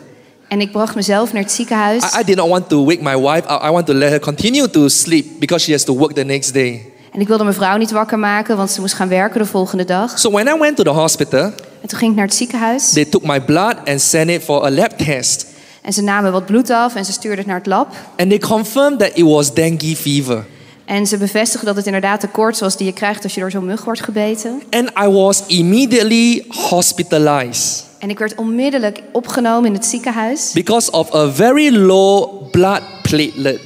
[SPEAKER 2] En ik bracht mezelf naar het ziekenhuis.
[SPEAKER 1] I, I did not want to wake my wife up. I want to let her continue to sleep because she has to work the next day.
[SPEAKER 2] En ik wilde mijn vrouw niet wakker maken, want ze moest gaan werken de volgende dag.
[SPEAKER 1] So when I went to the hospital,
[SPEAKER 2] En toen ging ik naar het ziekenhuis.
[SPEAKER 1] They took my blood and sent it for a lab test.
[SPEAKER 2] En ze namen wat bloed af en ze stuurden het naar het lab.
[SPEAKER 1] And they confirmed that it was dengue fever.
[SPEAKER 2] En ze bevestigden dat het inderdaad de koorts was die je krijgt als je door zo'n mug wordt gebeten.
[SPEAKER 1] And I was immediately hospitalized
[SPEAKER 2] En ik werd onmiddellijk opgenomen in het ziekenhuis.
[SPEAKER 1] because of a very low blood platelet.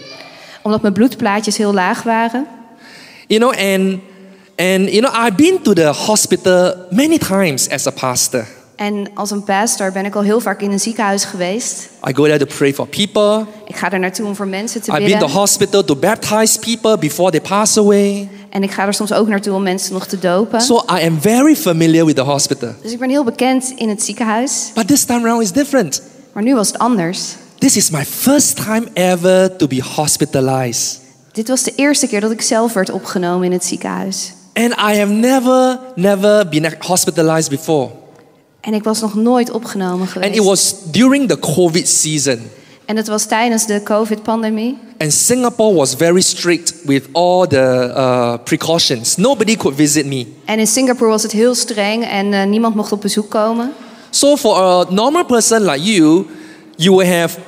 [SPEAKER 2] Omdat mijn bloedplaatjes heel laag waren.
[SPEAKER 1] You know, and and you know, I've been to the hospital many times as a pastor.
[SPEAKER 2] En En als een pastor ben ik al heel vaak in een ziekenhuis geweest.
[SPEAKER 1] I go there to pray for people.
[SPEAKER 2] Ik ga er naartoe om voor mensen te
[SPEAKER 1] I've been to
[SPEAKER 2] bidden.
[SPEAKER 1] hospital to baptize people before they pass away.
[SPEAKER 2] En ik ga er soms ook naartoe om mensen nog te dopen.
[SPEAKER 1] So I am very familiar with the hospital.
[SPEAKER 2] Dus ik ben heel bekend in het ziekenhuis.
[SPEAKER 1] But this time around is different.
[SPEAKER 2] Maar nu was het anders.
[SPEAKER 1] This is my first time ever to be hospitalized.
[SPEAKER 2] Dit was de eerste keer dat ik zelf werd opgenomen in het ziekenhuis.
[SPEAKER 1] And I have never, never been hospitalized before.
[SPEAKER 2] En ik was nog nooit opgenomen
[SPEAKER 1] And it
[SPEAKER 2] geweest.
[SPEAKER 1] was during the COVID season.
[SPEAKER 2] En dat was tijdens de COVID-pandemie.
[SPEAKER 1] And Singapore was very strict with all the uh, precautions. Nobody could visit me.
[SPEAKER 2] En in Singapore was het heel streng en eh, niemand mocht op bezoek komen.
[SPEAKER 1] So for a normal person like you, you will have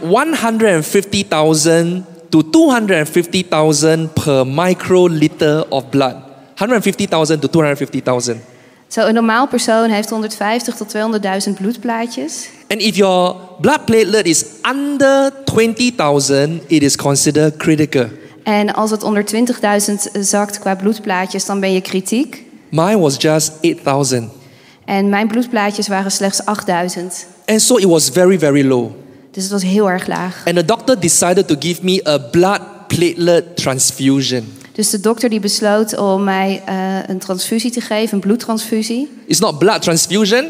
[SPEAKER 1] 150,000 to 250,000 per microliter of blood. 150,000 to 250,000.
[SPEAKER 2] Zo, een normaal persoon heeft 150 tot 200.000 bloedplaatjes.
[SPEAKER 1] And if your blood platelet is under 20,000, it is considered critical.
[SPEAKER 2] En als het onder 20.000 zakt qua bloedplaatjes, dan ben je kritiek.
[SPEAKER 1] Mine was just 8,000.
[SPEAKER 2] En mijn bloedplaatjes waren slechts 8000.
[SPEAKER 1] And so it was very, very low.
[SPEAKER 2] Dus het was heel erg laag.
[SPEAKER 1] And the doctor decided to give me a blood platelet transfusion.
[SPEAKER 2] Dus de dokter die besloot om mij eh, een transfusie te geven, een bloedtransfusie.
[SPEAKER 1] It's not blood transfusion.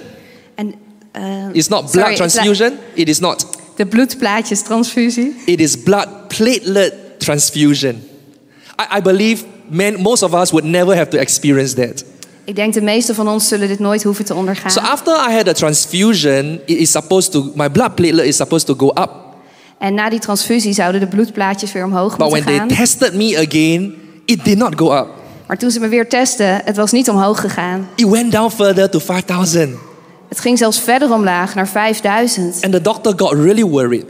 [SPEAKER 2] En, eh,
[SPEAKER 1] It's not
[SPEAKER 2] sorry,
[SPEAKER 1] blood
[SPEAKER 2] it's like-
[SPEAKER 1] transfusion. It is not.
[SPEAKER 2] De bloedplaatjes transfusie.
[SPEAKER 1] It is blood platelet transfusion. I, I believe men, most of us would never have to experience that.
[SPEAKER 2] Ik denk de meeste van ons zullen dit nooit hoeven te ondergaan.
[SPEAKER 1] So after I had a transfusion, it is supposed to my blood platelet is supposed to go up.
[SPEAKER 2] En na die transfusie zouden de bloedplaatjes weer omhoog
[SPEAKER 1] But
[SPEAKER 2] moeten
[SPEAKER 1] when they
[SPEAKER 2] gaan.
[SPEAKER 1] tested me again, it did not go up.
[SPEAKER 2] Maar toen ze me weer testen, het was niet omhoog gegaan.
[SPEAKER 1] It went down further to 5,000.
[SPEAKER 2] Het ging zelfs verder omlaag, naar 5000.
[SPEAKER 1] And the doctor got really worried.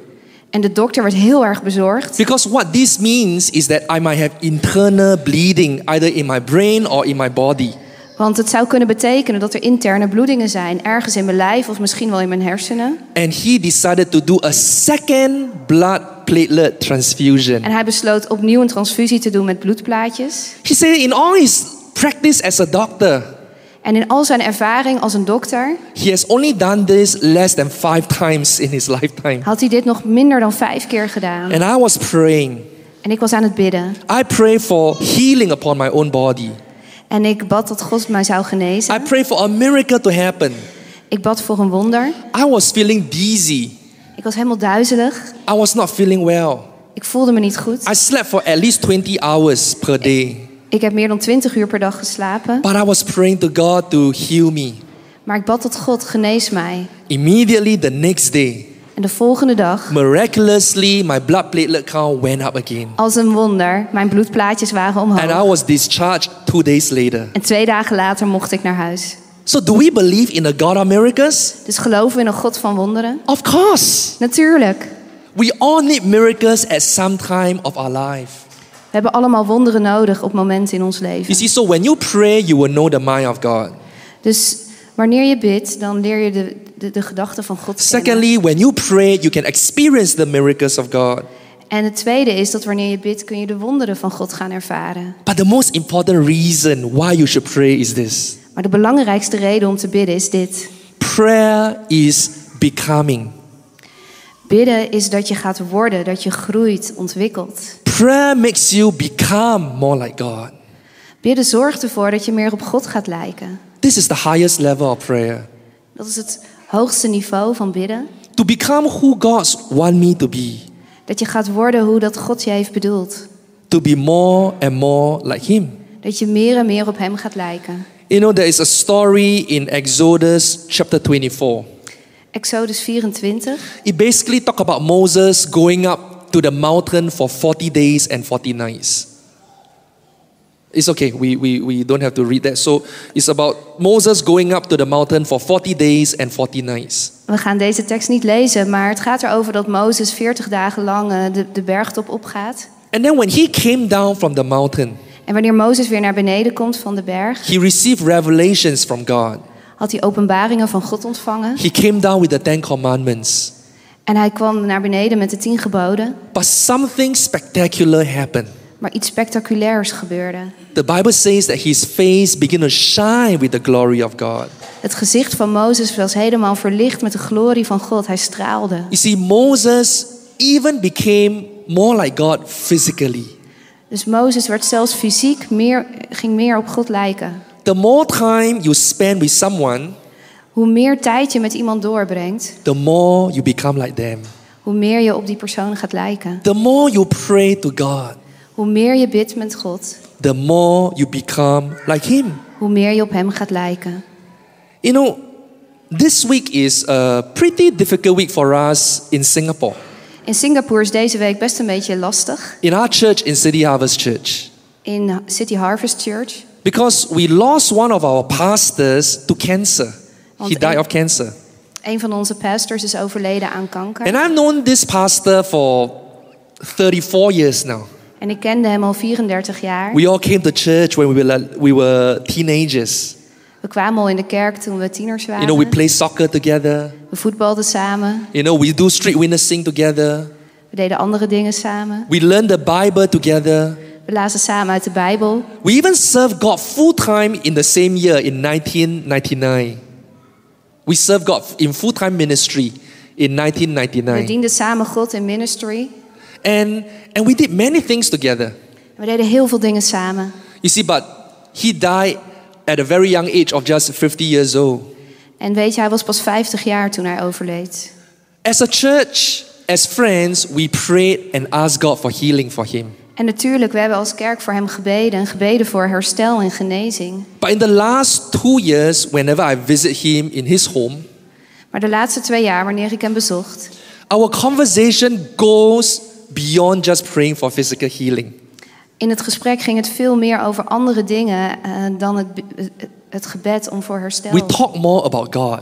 [SPEAKER 2] En de dokter werd heel erg bezorgd.
[SPEAKER 1] Because what this means is that I might have internal bleeding either in my brain or in my body.
[SPEAKER 2] Want het zou kunnen betekenen dat er interne bloedingen zijn. Ergens in mijn lijf of misschien wel in mijn hersenen.
[SPEAKER 1] And he decided to do a second blood platelet transfusion.
[SPEAKER 2] En hij besloot opnieuw een transfusie te doen met bloedplaatjes.
[SPEAKER 1] He said, in all his practice as a doctor,
[SPEAKER 2] En in al zijn ervaring als een dokter
[SPEAKER 1] he has only done this less than five times in his lifetime.
[SPEAKER 2] had hij dit nog minder dan vijf keer gedaan.
[SPEAKER 1] And I was praying.
[SPEAKER 2] En ik was aan het bidden.
[SPEAKER 1] I pray for healing upon my own body.
[SPEAKER 2] En ik bad dat God mij zou
[SPEAKER 1] I
[SPEAKER 2] genezen.
[SPEAKER 1] pray for a miracle to happen.
[SPEAKER 2] Ik bad voor een wonder.
[SPEAKER 1] I was feeling dizzy.
[SPEAKER 2] Ik was helemaal duizelig.
[SPEAKER 1] I was not feeling well.
[SPEAKER 2] Ik voelde me niet goed.
[SPEAKER 1] I slept for at least 20 hours per day.
[SPEAKER 2] Ik heb meer dan 20 uur per dag geslapen.
[SPEAKER 1] But I was praying to God to heal me.
[SPEAKER 2] Maar ik bad tot God, genees mij.
[SPEAKER 1] Immediately the next day,
[SPEAKER 2] En de volgende dag,
[SPEAKER 1] miraculously, my blood platelet count went up again.
[SPEAKER 2] als een wonder, mijn bloedplaatjes waren
[SPEAKER 1] And I
[SPEAKER 2] omhoog.
[SPEAKER 1] was discharged two days later.
[SPEAKER 2] En twee dagen later mocht ik naar huis.
[SPEAKER 1] So, do we believe in a God of miracles?
[SPEAKER 2] Dus geloven we in een God van wonderen?
[SPEAKER 1] Of course.
[SPEAKER 2] Natuurlijk.
[SPEAKER 1] We all need miracles at some time of our life.
[SPEAKER 2] We hebben allemaal wonderen nodig op momenten in ons
[SPEAKER 1] You
[SPEAKER 2] leven.
[SPEAKER 1] see, so when you pray, you will know the mind of God.
[SPEAKER 2] Dus wanneer je bidt, dan leer je de, de, de gedachten van God kennen.
[SPEAKER 1] Secondly, when you pray, you can experience the miracles of God.
[SPEAKER 2] En het tweede is dat wanneer je bidt, kun je de wonderen van God gaan ervaren.
[SPEAKER 1] But the most important reason why you should pray is this
[SPEAKER 2] Maar de belangrijkste reden om te bidden is dit.
[SPEAKER 1] prayer is becoming.
[SPEAKER 2] Bidden is dat je gaat worden, dat je groeit, ontwikkelt.
[SPEAKER 1] Prayer makes you become more like God.
[SPEAKER 2] Bidden zorgt ervoor dat je meer op God gaat lijken.
[SPEAKER 1] This is the highest level of prayer.
[SPEAKER 2] Dat is het hoogste niveau van bidden.
[SPEAKER 1] To become who God wants me to be,
[SPEAKER 2] Dat je gaat worden hoe dat God je heeft bedoeld.
[SPEAKER 1] to be more and more like Him.
[SPEAKER 2] Dat je meer en meer op Hem gaat lijken.
[SPEAKER 1] You know, there is a story in Exodus chapter 24.
[SPEAKER 2] Exodus 24.
[SPEAKER 1] It basically talks about Moses going up to the mountain for 40 days and 40 nights. It's okay, we, we, we don't have to read that. So it's about Moses going up to the mountain for 40 days and 40 nights.
[SPEAKER 2] We gaan deze tekst niet lezen, maar het gaat erover dat Mozes 40 dagen lang eh, de, de bergtop opgaat.
[SPEAKER 1] And then when he came down from the mountain,
[SPEAKER 2] En wanneer Mozes weer naar beneden komt van de berg,
[SPEAKER 1] he received revelations from God.
[SPEAKER 2] had hij openbaringen van God ontvangen.
[SPEAKER 1] He came down with the Ten Commandments.
[SPEAKER 2] En hij kwam naar beneden met de tien geboden.
[SPEAKER 1] But something spectacular happened.
[SPEAKER 2] Maar iets spectaculairs gebeurde.
[SPEAKER 1] The Bible says that his face began to shine with the glory of God.
[SPEAKER 2] Het gezicht van Mozes was helemaal verlicht met de glorie van God. Hij straalde.
[SPEAKER 1] You see, Moses even became more like God physically.
[SPEAKER 2] Dus Mozes werd zelfs fysiek meer, ging meer op God lijken.
[SPEAKER 1] The more time you spend with someone,
[SPEAKER 2] Hoe meer tijd je met iemand doorbrengt,
[SPEAKER 1] the more you become like them.
[SPEAKER 2] hoe meer je op die persoon gaat lijken.
[SPEAKER 1] The more you pray to God,
[SPEAKER 2] Hoe meer je bidt met God,
[SPEAKER 1] the more you become like Him.
[SPEAKER 2] hoe meer je op Hem gaat lijken.
[SPEAKER 1] You know, this week is a pretty difficult week for us in Singapore,
[SPEAKER 2] In Singapore is deze week best een beetje lastig.
[SPEAKER 1] in our church, in City Harvest Church,
[SPEAKER 2] In City Harvest Church.
[SPEAKER 1] because we lost one of our pastors to cancer. He
[SPEAKER 2] Want-
[SPEAKER 1] died of cancer.
[SPEAKER 2] Een van onze pastors is overleden aan kanker.
[SPEAKER 1] And I've known this pastor for 34 years now.
[SPEAKER 2] En ik kende hem al 34 jaar.
[SPEAKER 1] We all came to church when we were, like- we were teenagers.
[SPEAKER 2] We kwamen al in de kerk toen we tieners
[SPEAKER 1] You know, we
[SPEAKER 2] waren.
[SPEAKER 1] play soccer together.
[SPEAKER 2] We voetbalden samen.
[SPEAKER 1] You know, we do street witnessing together.
[SPEAKER 2] We deden andere dingen samen.
[SPEAKER 1] We learn the Bible together.
[SPEAKER 2] We lazen samen uit de Bijbel.
[SPEAKER 1] We even served God full time in the same year in 1999. We served God in full time ministry in
[SPEAKER 2] We
[SPEAKER 1] 1999.
[SPEAKER 2] dienden samen God in ministry.
[SPEAKER 1] And, and we did many things together.
[SPEAKER 2] We deden heel veel dingen samen.
[SPEAKER 1] You see, but he died at a very young age of just 50 years old.
[SPEAKER 2] En weet je, hij was pas 50 jaar toen hij overleed.
[SPEAKER 1] As a church, as friends, we prayed and asked God for healing for him.
[SPEAKER 2] En natuurlijk, we hebben als kerk voor hem gebeden. En gebeden voor herstel en genezing.
[SPEAKER 1] But in the last two years, whenever I visit him in his home,
[SPEAKER 2] Maar de laatste twee jaar, wanneer ik hem bezocht...
[SPEAKER 1] our conversation goes beyond just praying for physical healing.
[SPEAKER 2] In het gesprek ging het veel meer over andere dingen eh, dan het, het gebed om voor herstel.
[SPEAKER 1] We talk more about God.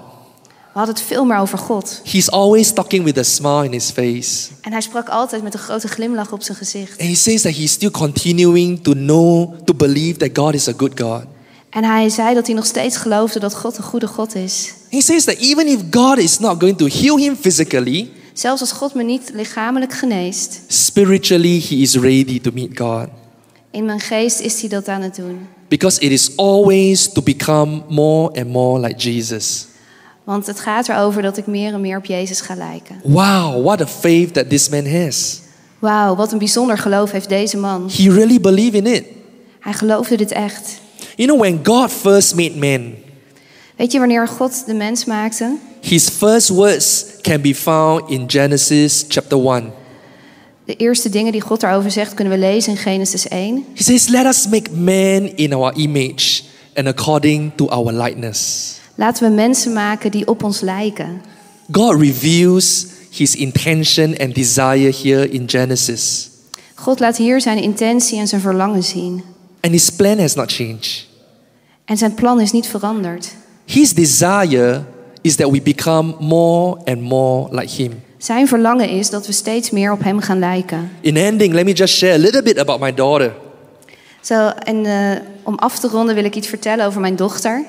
[SPEAKER 2] We hadden het veel meer over God.
[SPEAKER 1] He's always talking with a smile in his face.
[SPEAKER 2] En hij sprak altijd met een grote glimlach op zijn gezicht.
[SPEAKER 1] And he says that he's still continuing to know, to believe that God is a good God.
[SPEAKER 2] En hij zei dat hij nog steeds geloofde dat God een goede God is.
[SPEAKER 1] He says that even if God is not going to heal him physically,
[SPEAKER 2] Zelfs als God me niet lichamelijk geneest,
[SPEAKER 1] spiritually he is ready to meet God.
[SPEAKER 2] in mijn geest is hij dat aan het doen.
[SPEAKER 1] Because it is always to become more and more like Jesus.
[SPEAKER 2] Want het gaat erover dat ik meer en meer op Jezus ga lijken.
[SPEAKER 1] Wow, what a faith that this man has.
[SPEAKER 2] Wauw, wat een bijzonder geloof heeft deze man.
[SPEAKER 1] He really believed in it.
[SPEAKER 2] Hij geloofde dit echt.
[SPEAKER 1] You know, when God first made man,
[SPEAKER 2] Weet je wanneer God de mens maakte?
[SPEAKER 1] his first words can be found in Genesis chapter 1.
[SPEAKER 2] De eerste dingen die God daarover zegt kunnen we lezen in Genesis 1.
[SPEAKER 1] He says, Let us make man in our image and according to our likeness.
[SPEAKER 2] Laten we mensen maken die op ons lijken.
[SPEAKER 1] God reveals his intention and desire here in Genesis.
[SPEAKER 2] God laat hier zijn intentie en zijn verlangen zien.
[SPEAKER 1] And his plan has not changed.
[SPEAKER 2] En zijn plan is niet veranderd.
[SPEAKER 1] His desire is that we become more and more like him.
[SPEAKER 2] Zijn verlangen is dat we steeds meer op hem gaan lijken.
[SPEAKER 1] In ending, let me just share a little bit about my daughter.
[SPEAKER 2] Zo, en eh, om af te ronden wil ik iets vertellen over mijn dochter.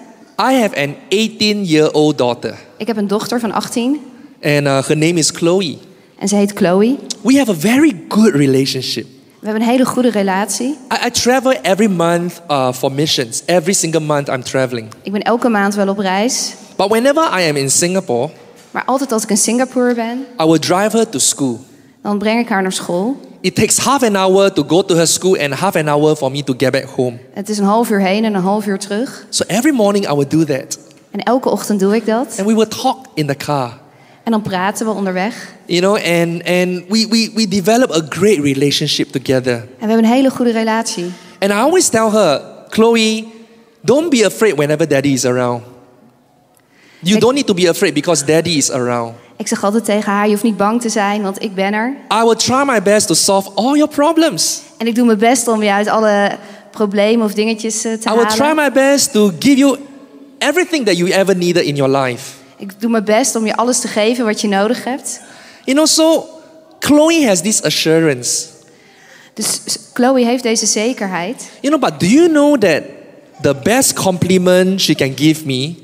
[SPEAKER 1] I have an 18 year old daughter,
[SPEAKER 2] Ik heb een dochter van 18
[SPEAKER 1] and uh, her name is Chloe.
[SPEAKER 2] en ze heet Chloe.
[SPEAKER 1] We have a very good relationship.
[SPEAKER 2] We hebben een hele goede relatie.
[SPEAKER 1] I, I travel every month uh, for missions. Every single month I'm traveling.
[SPEAKER 2] Ik ben elke maand wel op reis.
[SPEAKER 1] But whenever I am in Singapore,
[SPEAKER 2] Maar altijd als ik in Singapore ben,
[SPEAKER 1] I will drive her to school.
[SPEAKER 2] dan breng ik haar naar school.
[SPEAKER 1] It takes half an hour to go to her school and half an hour for me to get back home.
[SPEAKER 2] Het is een half uur heen en een half uur terug.
[SPEAKER 1] So every morning I will do that.
[SPEAKER 2] En elke ochtend doe ik dat.
[SPEAKER 1] And we will talk in the car.
[SPEAKER 2] En dan praten we onderweg.
[SPEAKER 1] You know, and, and we, we, we develop a great relationship together.
[SPEAKER 2] En we hebben een hele goede relatie.
[SPEAKER 1] And I always tell her, Chloe, don't be afraid whenever daddy is around. You
[SPEAKER 2] Ik-
[SPEAKER 1] don't need to be afraid because daddy is around.
[SPEAKER 2] Ik zeg altijd tegen haar, je hoeft niet bang te zijn, want ik ben er.
[SPEAKER 1] I will try my best to solve all your problems.
[SPEAKER 2] En ik doe mijn best om je uit alle problemen of dingetjes eh, te
[SPEAKER 1] I will try
[SPEAKER 2] halen.
[SPEAKER 1] my best to give you everything that you ever needed in your life.
[SPEAKER 2] Ik doe mijn best om je alles te geven wat je nodig hebt.
[SPEAKER 1] You know, so Chloe has this assurance.
[SPEAKER 2] Dus s- Chloe heeft deze zekerheid.
[SPEAKER 1] You know, but do you know that the best compliment she can give me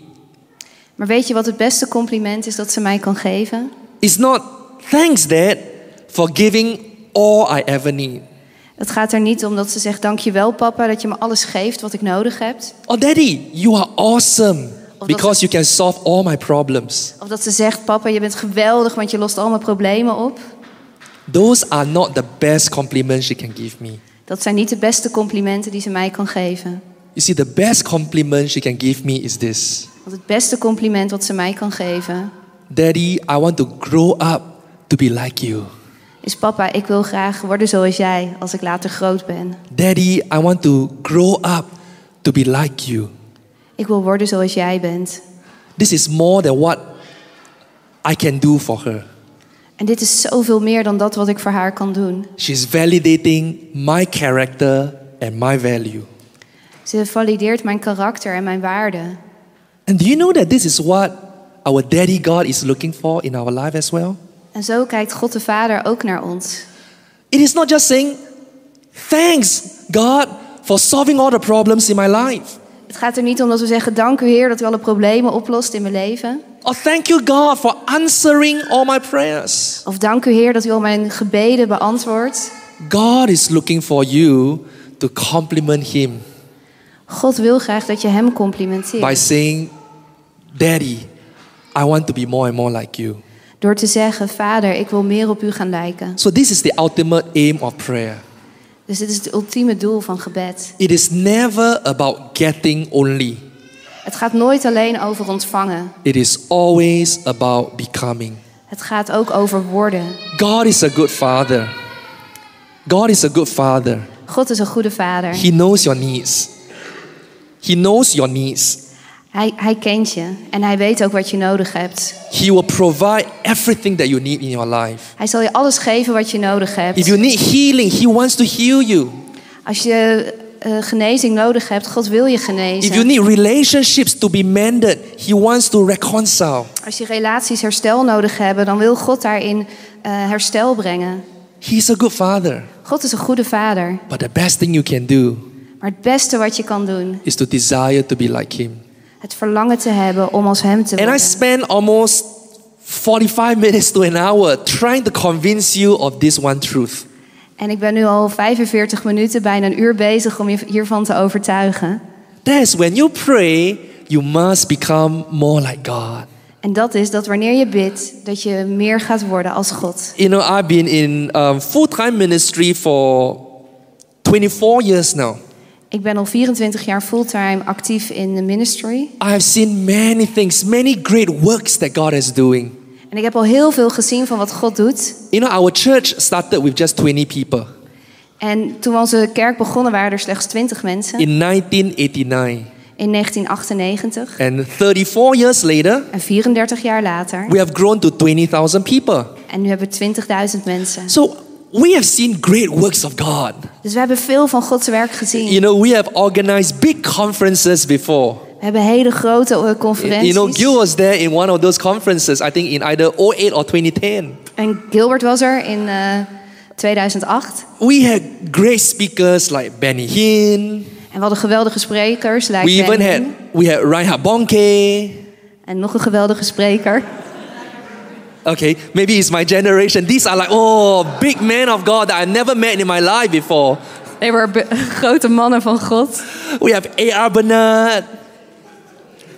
[SPEAKER 2] Maar weet je wat het beste compliment is dat ze mij kan geven?
[SPEAKER 1] is not thanks, Dad, for giving all I ever need.
[SPEAKER 2] Het gaat er niet om dat
[SPEAKER 1] Oh,
[SPEAKER 2] ze zegt, dankjewel papa dat je me alles geeft wat ik nodig heb.
[SPEAKER 1] Or, Daddy, you are awesome.
[SPEAKER 2] Of dat,
[SPEAKER 1] because you can solve all my problems.
[SPEAKER 2] of dat ze zegt, papa, je bent geweldig, want je lost al mijn problemen op.
[SPEAKER 1] Those are not the best compliments she can give me.
[SPEAKER 2] Dat zijn niet de beste complimenten die ze mij kan geven.
[SPEAKER 1] You see, the best compliment she can give me is this
[SPEAKER 2] Want het beste compliment wat ze mij kan geven
[SPEAKER 1] Daddy, I want to grow up to be like you.
[SPEAKER 2] is, papa, ik wil graag worden zoals jij als ik later groot ben.
[SPEAKER 1] Daddy, I want to grow up to be like you.
[SPEAKER 2] Ik wil worden zoals jij bent.
[SPEAKER 1] This is more than what I can do for her.
[SPEAKER 2] En dit is zoveel meer dan dat wat ik voor haar kan doen.
[SPEAKER 1] She's validating my character and my value.
[SPEAKER 2] Ze valideert mijn karakter en mijn waarden.
[SPEAKER 1] And do you know that this is what our daddy God is looking for in our life as well?
[SPEAKER 2] En zo kijkt God de Vader ook naar ons.
[SPEAKER 1] It is not just saying, Thanks, God, for solving all the problems in my life.
[SPEAKER 2] Het gaat er niet om dat we zeggen: Dank u, Heer, dat u alle problemen oplost in mijn leven.
[SPEAKER 1] Or thank you, God, for answering all my prayers.
[SPEAKER 2] Of dank u, Heer, dat u al mijn gebeden beantwoordt.
[SPEAKER 1] God is looking for you to compliment Him
[SPEAKER 2] God wil graag dat je Hem
[SPEAKER 1] by
[SPEAKER 2] complimenteert.
[SPEAKER 1] saying, Daddy, I want to be more and more like you.
[SPEAKER 2] Door te zeggen: Vader, ik wil meer op u gaan lijken.
[SPEAKER 1] So, this is the ultimate aim of prayer.
[SPEAKER 2] Dus dit is het ultieme doel van gebed.
[SPEAKER 1] It is never about getting only,
[SPEAKER 2] Het gaat nooit alleen over ontvangen,
[SPEAKER 1] it is always about becoming.
[SPEAKER 2] het gaat ook over worden.
[SPEAKER 1] God is a good father. God is a good father.
[SPEAKER 2] God is een goede Vader.
[SPEAKER 1] He knows your needs. He knows your needs.
[SPEAKER 2] Hij, hij kent je en hij weet ook wat je nodig hebt.
[SPEAKER 1] He will provide everything that you need in your life.
[SPEAKER 2] Hij zal je alles geven wat je nodig
[SPEAKER 1] If
[SPEAKER 2] hebt.
[SPEAKER 1] you need healing, He wants to heal you.
[SPEAKER 2] Als je eh, genezing nodig hebt, God wil je
[SPEAKER 1] If you
[SPEAKER 2] genezen.
[SPEAKER 1] need relationships to be mended, He wants to reconcile.
[SPEAKER 2] Als je relaties herstel nodig hebben, dan wil God daarin eh, herstel brengen.
[SPEAKER 1] He's a good father.
[SPEAKER 2] God is een goede Vader.
[SPEAKER 1] But the best thing you can do
[SPEAKER 2] Maar het beste wat je kan doen,
[SPEAKER 1] is to desire to be like Him.
[SPEAKER 2] het verlangen te hebben om als Hem te
[SPEAKER 1] And I
[SPEAKER 2] worden.
[SPEAKER 1] spent almost 45 minutes to an hour trying to convince you of this one truth.
[SPEAKER 2] En ik ben nu al 45 minuten, bijna een uur bezig om je hiervan te overtuigen.
[SPEAKER 1] That's when you pray, you must become more like God.
[SPEAKER 2] En dat is dat wanneer je bidt, dat je meer gaat worden als God.
[SPEAKER 1] You know, I've been in um, full time ministry for 24 years now.
[SPEAKER 2] Ik ben al 24 jaar fulltime actief in de ministry.
[SPEAKER 1] I've seen many things, many great works that God is doing.
[SPEAKER 2] En ik heb al heel veel gezien van wat God doet.
[SPEAKER 1] You know, our church started with just 20 people
[SPEAKER 2] En toen we onze kerk begonnen waren er slechts 20 mensen
[SPEAKER 1] in 1989.
[SPEAKER 2] in 1998.
[SPEAKER 1] And 34 years later,
[SPEAKER 2] En 34 jaar later.
[SPEAKER 1] we have grown to 20,000 people.
[SPEAKER 2] En nu hebben we 20.000 mensen.
[SPEAKER 1] So we have seen great works of God.
[SPEAKER 2] Dus we hebben veel van Gods werk gezien.
[SPEAKER 1] You know, we have organized big conferences before.
[SPEAKER 2] We hebben hele grote eh,
[SPEAKER 1] You know,
[SPEAKER 2] conferenties.
[SPEAKER 1] Gil was there in one of those conferences, I think in either 08 or 2010.
[SPEAKER 2] En Gilbert was er in eh, 2008.
[SPEAKER 1] We had great speakers like Benny Hinn.
[SPEAKER 2] En we hadden geweldige sprekers. Like
[SPEAKER 1] We even
[SPEAKER 2] Ben
[SPEAKER 1] had we had Reinhard Bonke.
[SPEAKER 2] En nog een geweldige spreker.
[SPEAKER 1] Okay, maybe it's my generation. These are like, oh, big men of God that I never met in my life before.
[SPEAKER 2] They were be- grote mannen van God.
[SPEAKER 1] We have A.R. Bernard.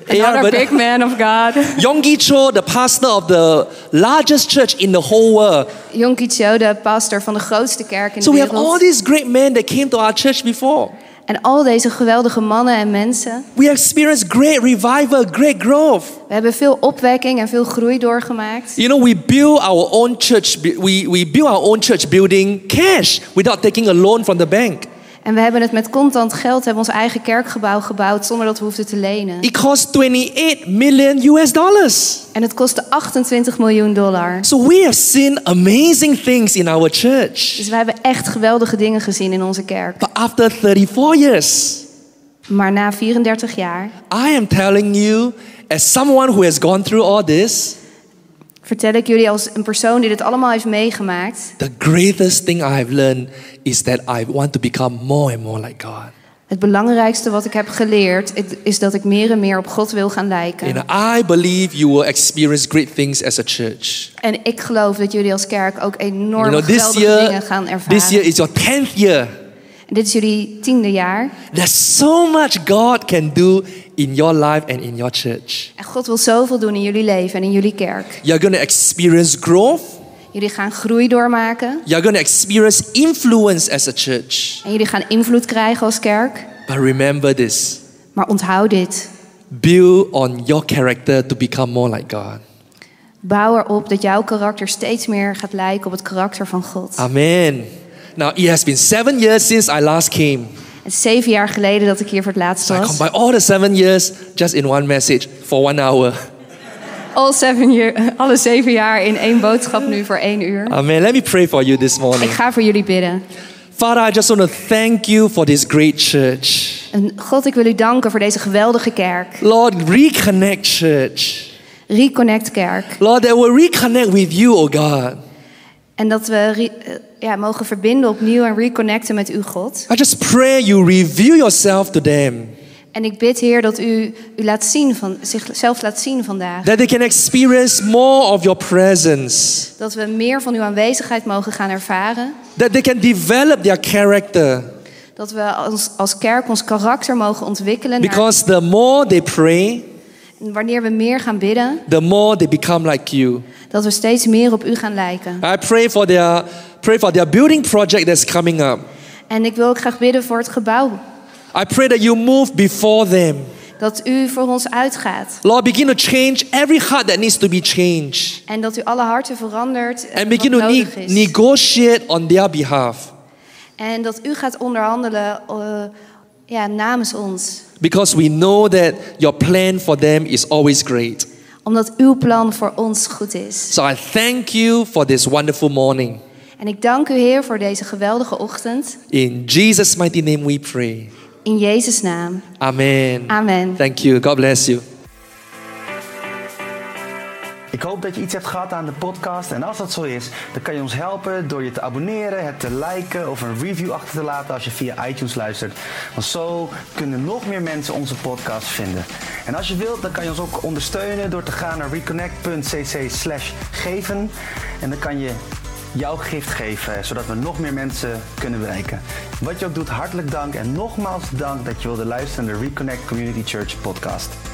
[SPEAKER 2] Another big man of God.
[SPEAKER 1] Yonggi Cho, the pastor of the largest church in the whole world.
[SPEAKER 2] Yonki Cho, de pastor van de grootste kerk in
[SPEAKER 1] So
[SPEAKER 2] de
[SPEAKER 1] we have
[SPEAKER 2] wereld.
[SPEAKER 1] all these great men that came to our church before.
[SPEAKER 2] En al deze geweldige mannen en mensen.
[SPEAKER 1] We experienced great revival, great growth.
[SPEAKER 2] We hebben veel opwekking en veel groei doorgemaakt.
[SPEAKER 1] You know, we build our own church. bu- We, we build our own church building cash without taking a loan from the bank.
[SPEAKER 2] En we hebben het met contant geld, hebben ons eigen kerkgebouw gebouwd zonder dat we hoefden te lenen.
[SPEAKER 1] It costs 28 million US dollars.
[SPEAKER 2] En het kostte 28 miljoen dollar.
[SPEAKER 1] So we have seen amazing things in our church.
[SPEAKER 2] Dus we hebben echt geweldige dingen gezien in onze kerk.
[SPEAKER 1] But after 34 years,
[SPEAKER 2] Maar na 34 jaar
[SPEAKER 1] I am telling you, as someone who has gone through all this,
[SPEAKER 2] vertel ik jullie als een persoon die dit allemaal heeft meegemaakt.
[SPEAKER 1] the greatest thing I have learned is that I want to become more and more like God.
[SPEAKER 2] Het belangrijkste wat ik heb geleerd het- is dat ik meer en meer op God wil gaan lijken.
[SPEAKER 1] You know, I believe you will experience great things as a church.
[SPEAKER 2] En ik geloof dat jullie als kerk ook enorm
[SPEAKER 1] You know, this
[SPEAKER 2] geweldige
[SPEAKER 1] year,
[SPEAKER 2] dingen gaan ervaren.
[SPEAKER 1] this year is your 10th year.
[SPEAKER 2] Dit is jullie tiende jaar.
[SPEAKER 1] There's so much God can do in your life and in your church.
[SPEAKER 2] En God wil zoveel doen in jullie leven en in jullie kerk.
[SPEAKER 1] You're going to experience growth.
[SPEAKER 2] Jullie gaan groei doormaken.
[SPEAKER 1] You're going to experience influence as a church.
[SPEAKER 2] En jullie gaan invloed krijgen als kerk.
[SPEAKER 1] But remember this
[SPEAKER 2] Maar onthoud dit.
[SPEAKER 1] build on your character to become more like God.
[SPEAKER 2] Bouw erop dat jouw karakter steeds meer gaat lijken op het karakter van God.
[SPEAKER 1] Ah. Amen. Now, it has been seven years since I last came.
[SPEAKER 2] Het is zeven jaar geleden dat ik hier voor het laatst
[SPEAKER 1] So I
[SPEAKER 2] was.
[SPEAKER 1] combine all the seven years just in one message for one hour.
[SPEAKER 2] All seven year, alle zeven jaar in één boodschap nu voor één uur.
[SPEAKER 1] Amen. Let me pray for you this
[SPEAKER 2] Ik
[SPEAKER 1] morning.
[SPEAKER 2] ga voor jullie bidden.
[SPEAKER 1] Father, I just want to thank you for this great church.
[SPEAKER 2] En God, ik wil u danken voor deze geweldige kerk.
[SPEAKER 1] Lord, reconnect church.
[SPEAKER 2] Reconnect Kerk.
[SPEAKER 1] Lord, that will reconnect with you, oh God.
[SPEAKER 2] En dat we re- eh, ja, mogen verbinden opnieuw en reconnecten met u, God.
[SPEAKER 1] I just pray you reveal yourself to them,
[SPEAKER 2] En ik bid, Heer, dat u, u laat zien van, zichzelf laat zien vandaag.
[SPEAKER 1] that they can experience more of your presence,
[SPEAKER 2] Dat we meer van uw aanwezigheid mogen gaan ervaren.
[SPEAKER 1] that they can develop their character.
[SPEAKER 2] Dat we als, als kerk ons karakter mogen ontwikkelen. naar-
[SPEAKER 1] Because the more they pray,
[SPEAKER 2] wanneer we meer gaan bidden,
[SPEAKER 1] the more they become like you.
[SPEAKER 2] dat we steeds meer op u gaan lijken.
[SPEAKER 1] I pray for their pray for their building project that's coming up.
[SPEAKER 2] En ik wil ook graag bidden voor het gebouw.
[SPEAKER 1] I pray that you move before them.
[SPEAKER 2] Dat u voor ons uitgaat.
[SPEAKER 1] Lord, begin to change every heart that needs to be changed.
[SPEAKER 2] En dat u alle harten verandert eh,
[SPEAKER 1] and
[SPEAKER 2] wat
[SPEAKER 1] begin to
[SPEAKER 2] nodig
[SPEAKER 1] ne-
[SPEAKER 2] is.
[SPEAKER 1] negotiate on their behalf
[SPEAKER 2] En dat u gaat onderhandelen eh, ja, namens ons.
[SPEAKER 1] because we know that your plan for them is always great.
[SPEAKER 2] Omdat uw plan voor ons goed is.
[SPEAKER 1] So I thank you for this wonderful morning.
[SPEAKER 2] En ik dank u Heer voor deze geweldige ochtend.
[SPEAKER 1] In Jesus' mighty name we pray.
[SPEAKER 2] In Jezus' naam.
[SPEAKER 1] Amen.
[SPEAKER 2] Amen.
[SPEAKER 1] Thank you. God bless you.
[SPEAKER 3] Ik hoop dat je iets hebt gehad aan de podcast. En als dat zo is, dan kan je ons helpen door je te abonneren, het te liken of een review achter te laten als je via iTunes luistert. Want zo kunnen nog meer mensen onze podcast vinden. En als je wilt, dan kan je ons ook ondersteunen door te gaan naar reconnect.cc slash geven. En dan kan je jouw gift geven, zodat we nog meer mensen kunnen bereiken. Wat je ook doet, hartelijk dank en nogmaals dank dat je wilde luisteren naar de Reconnect Community Church podcast.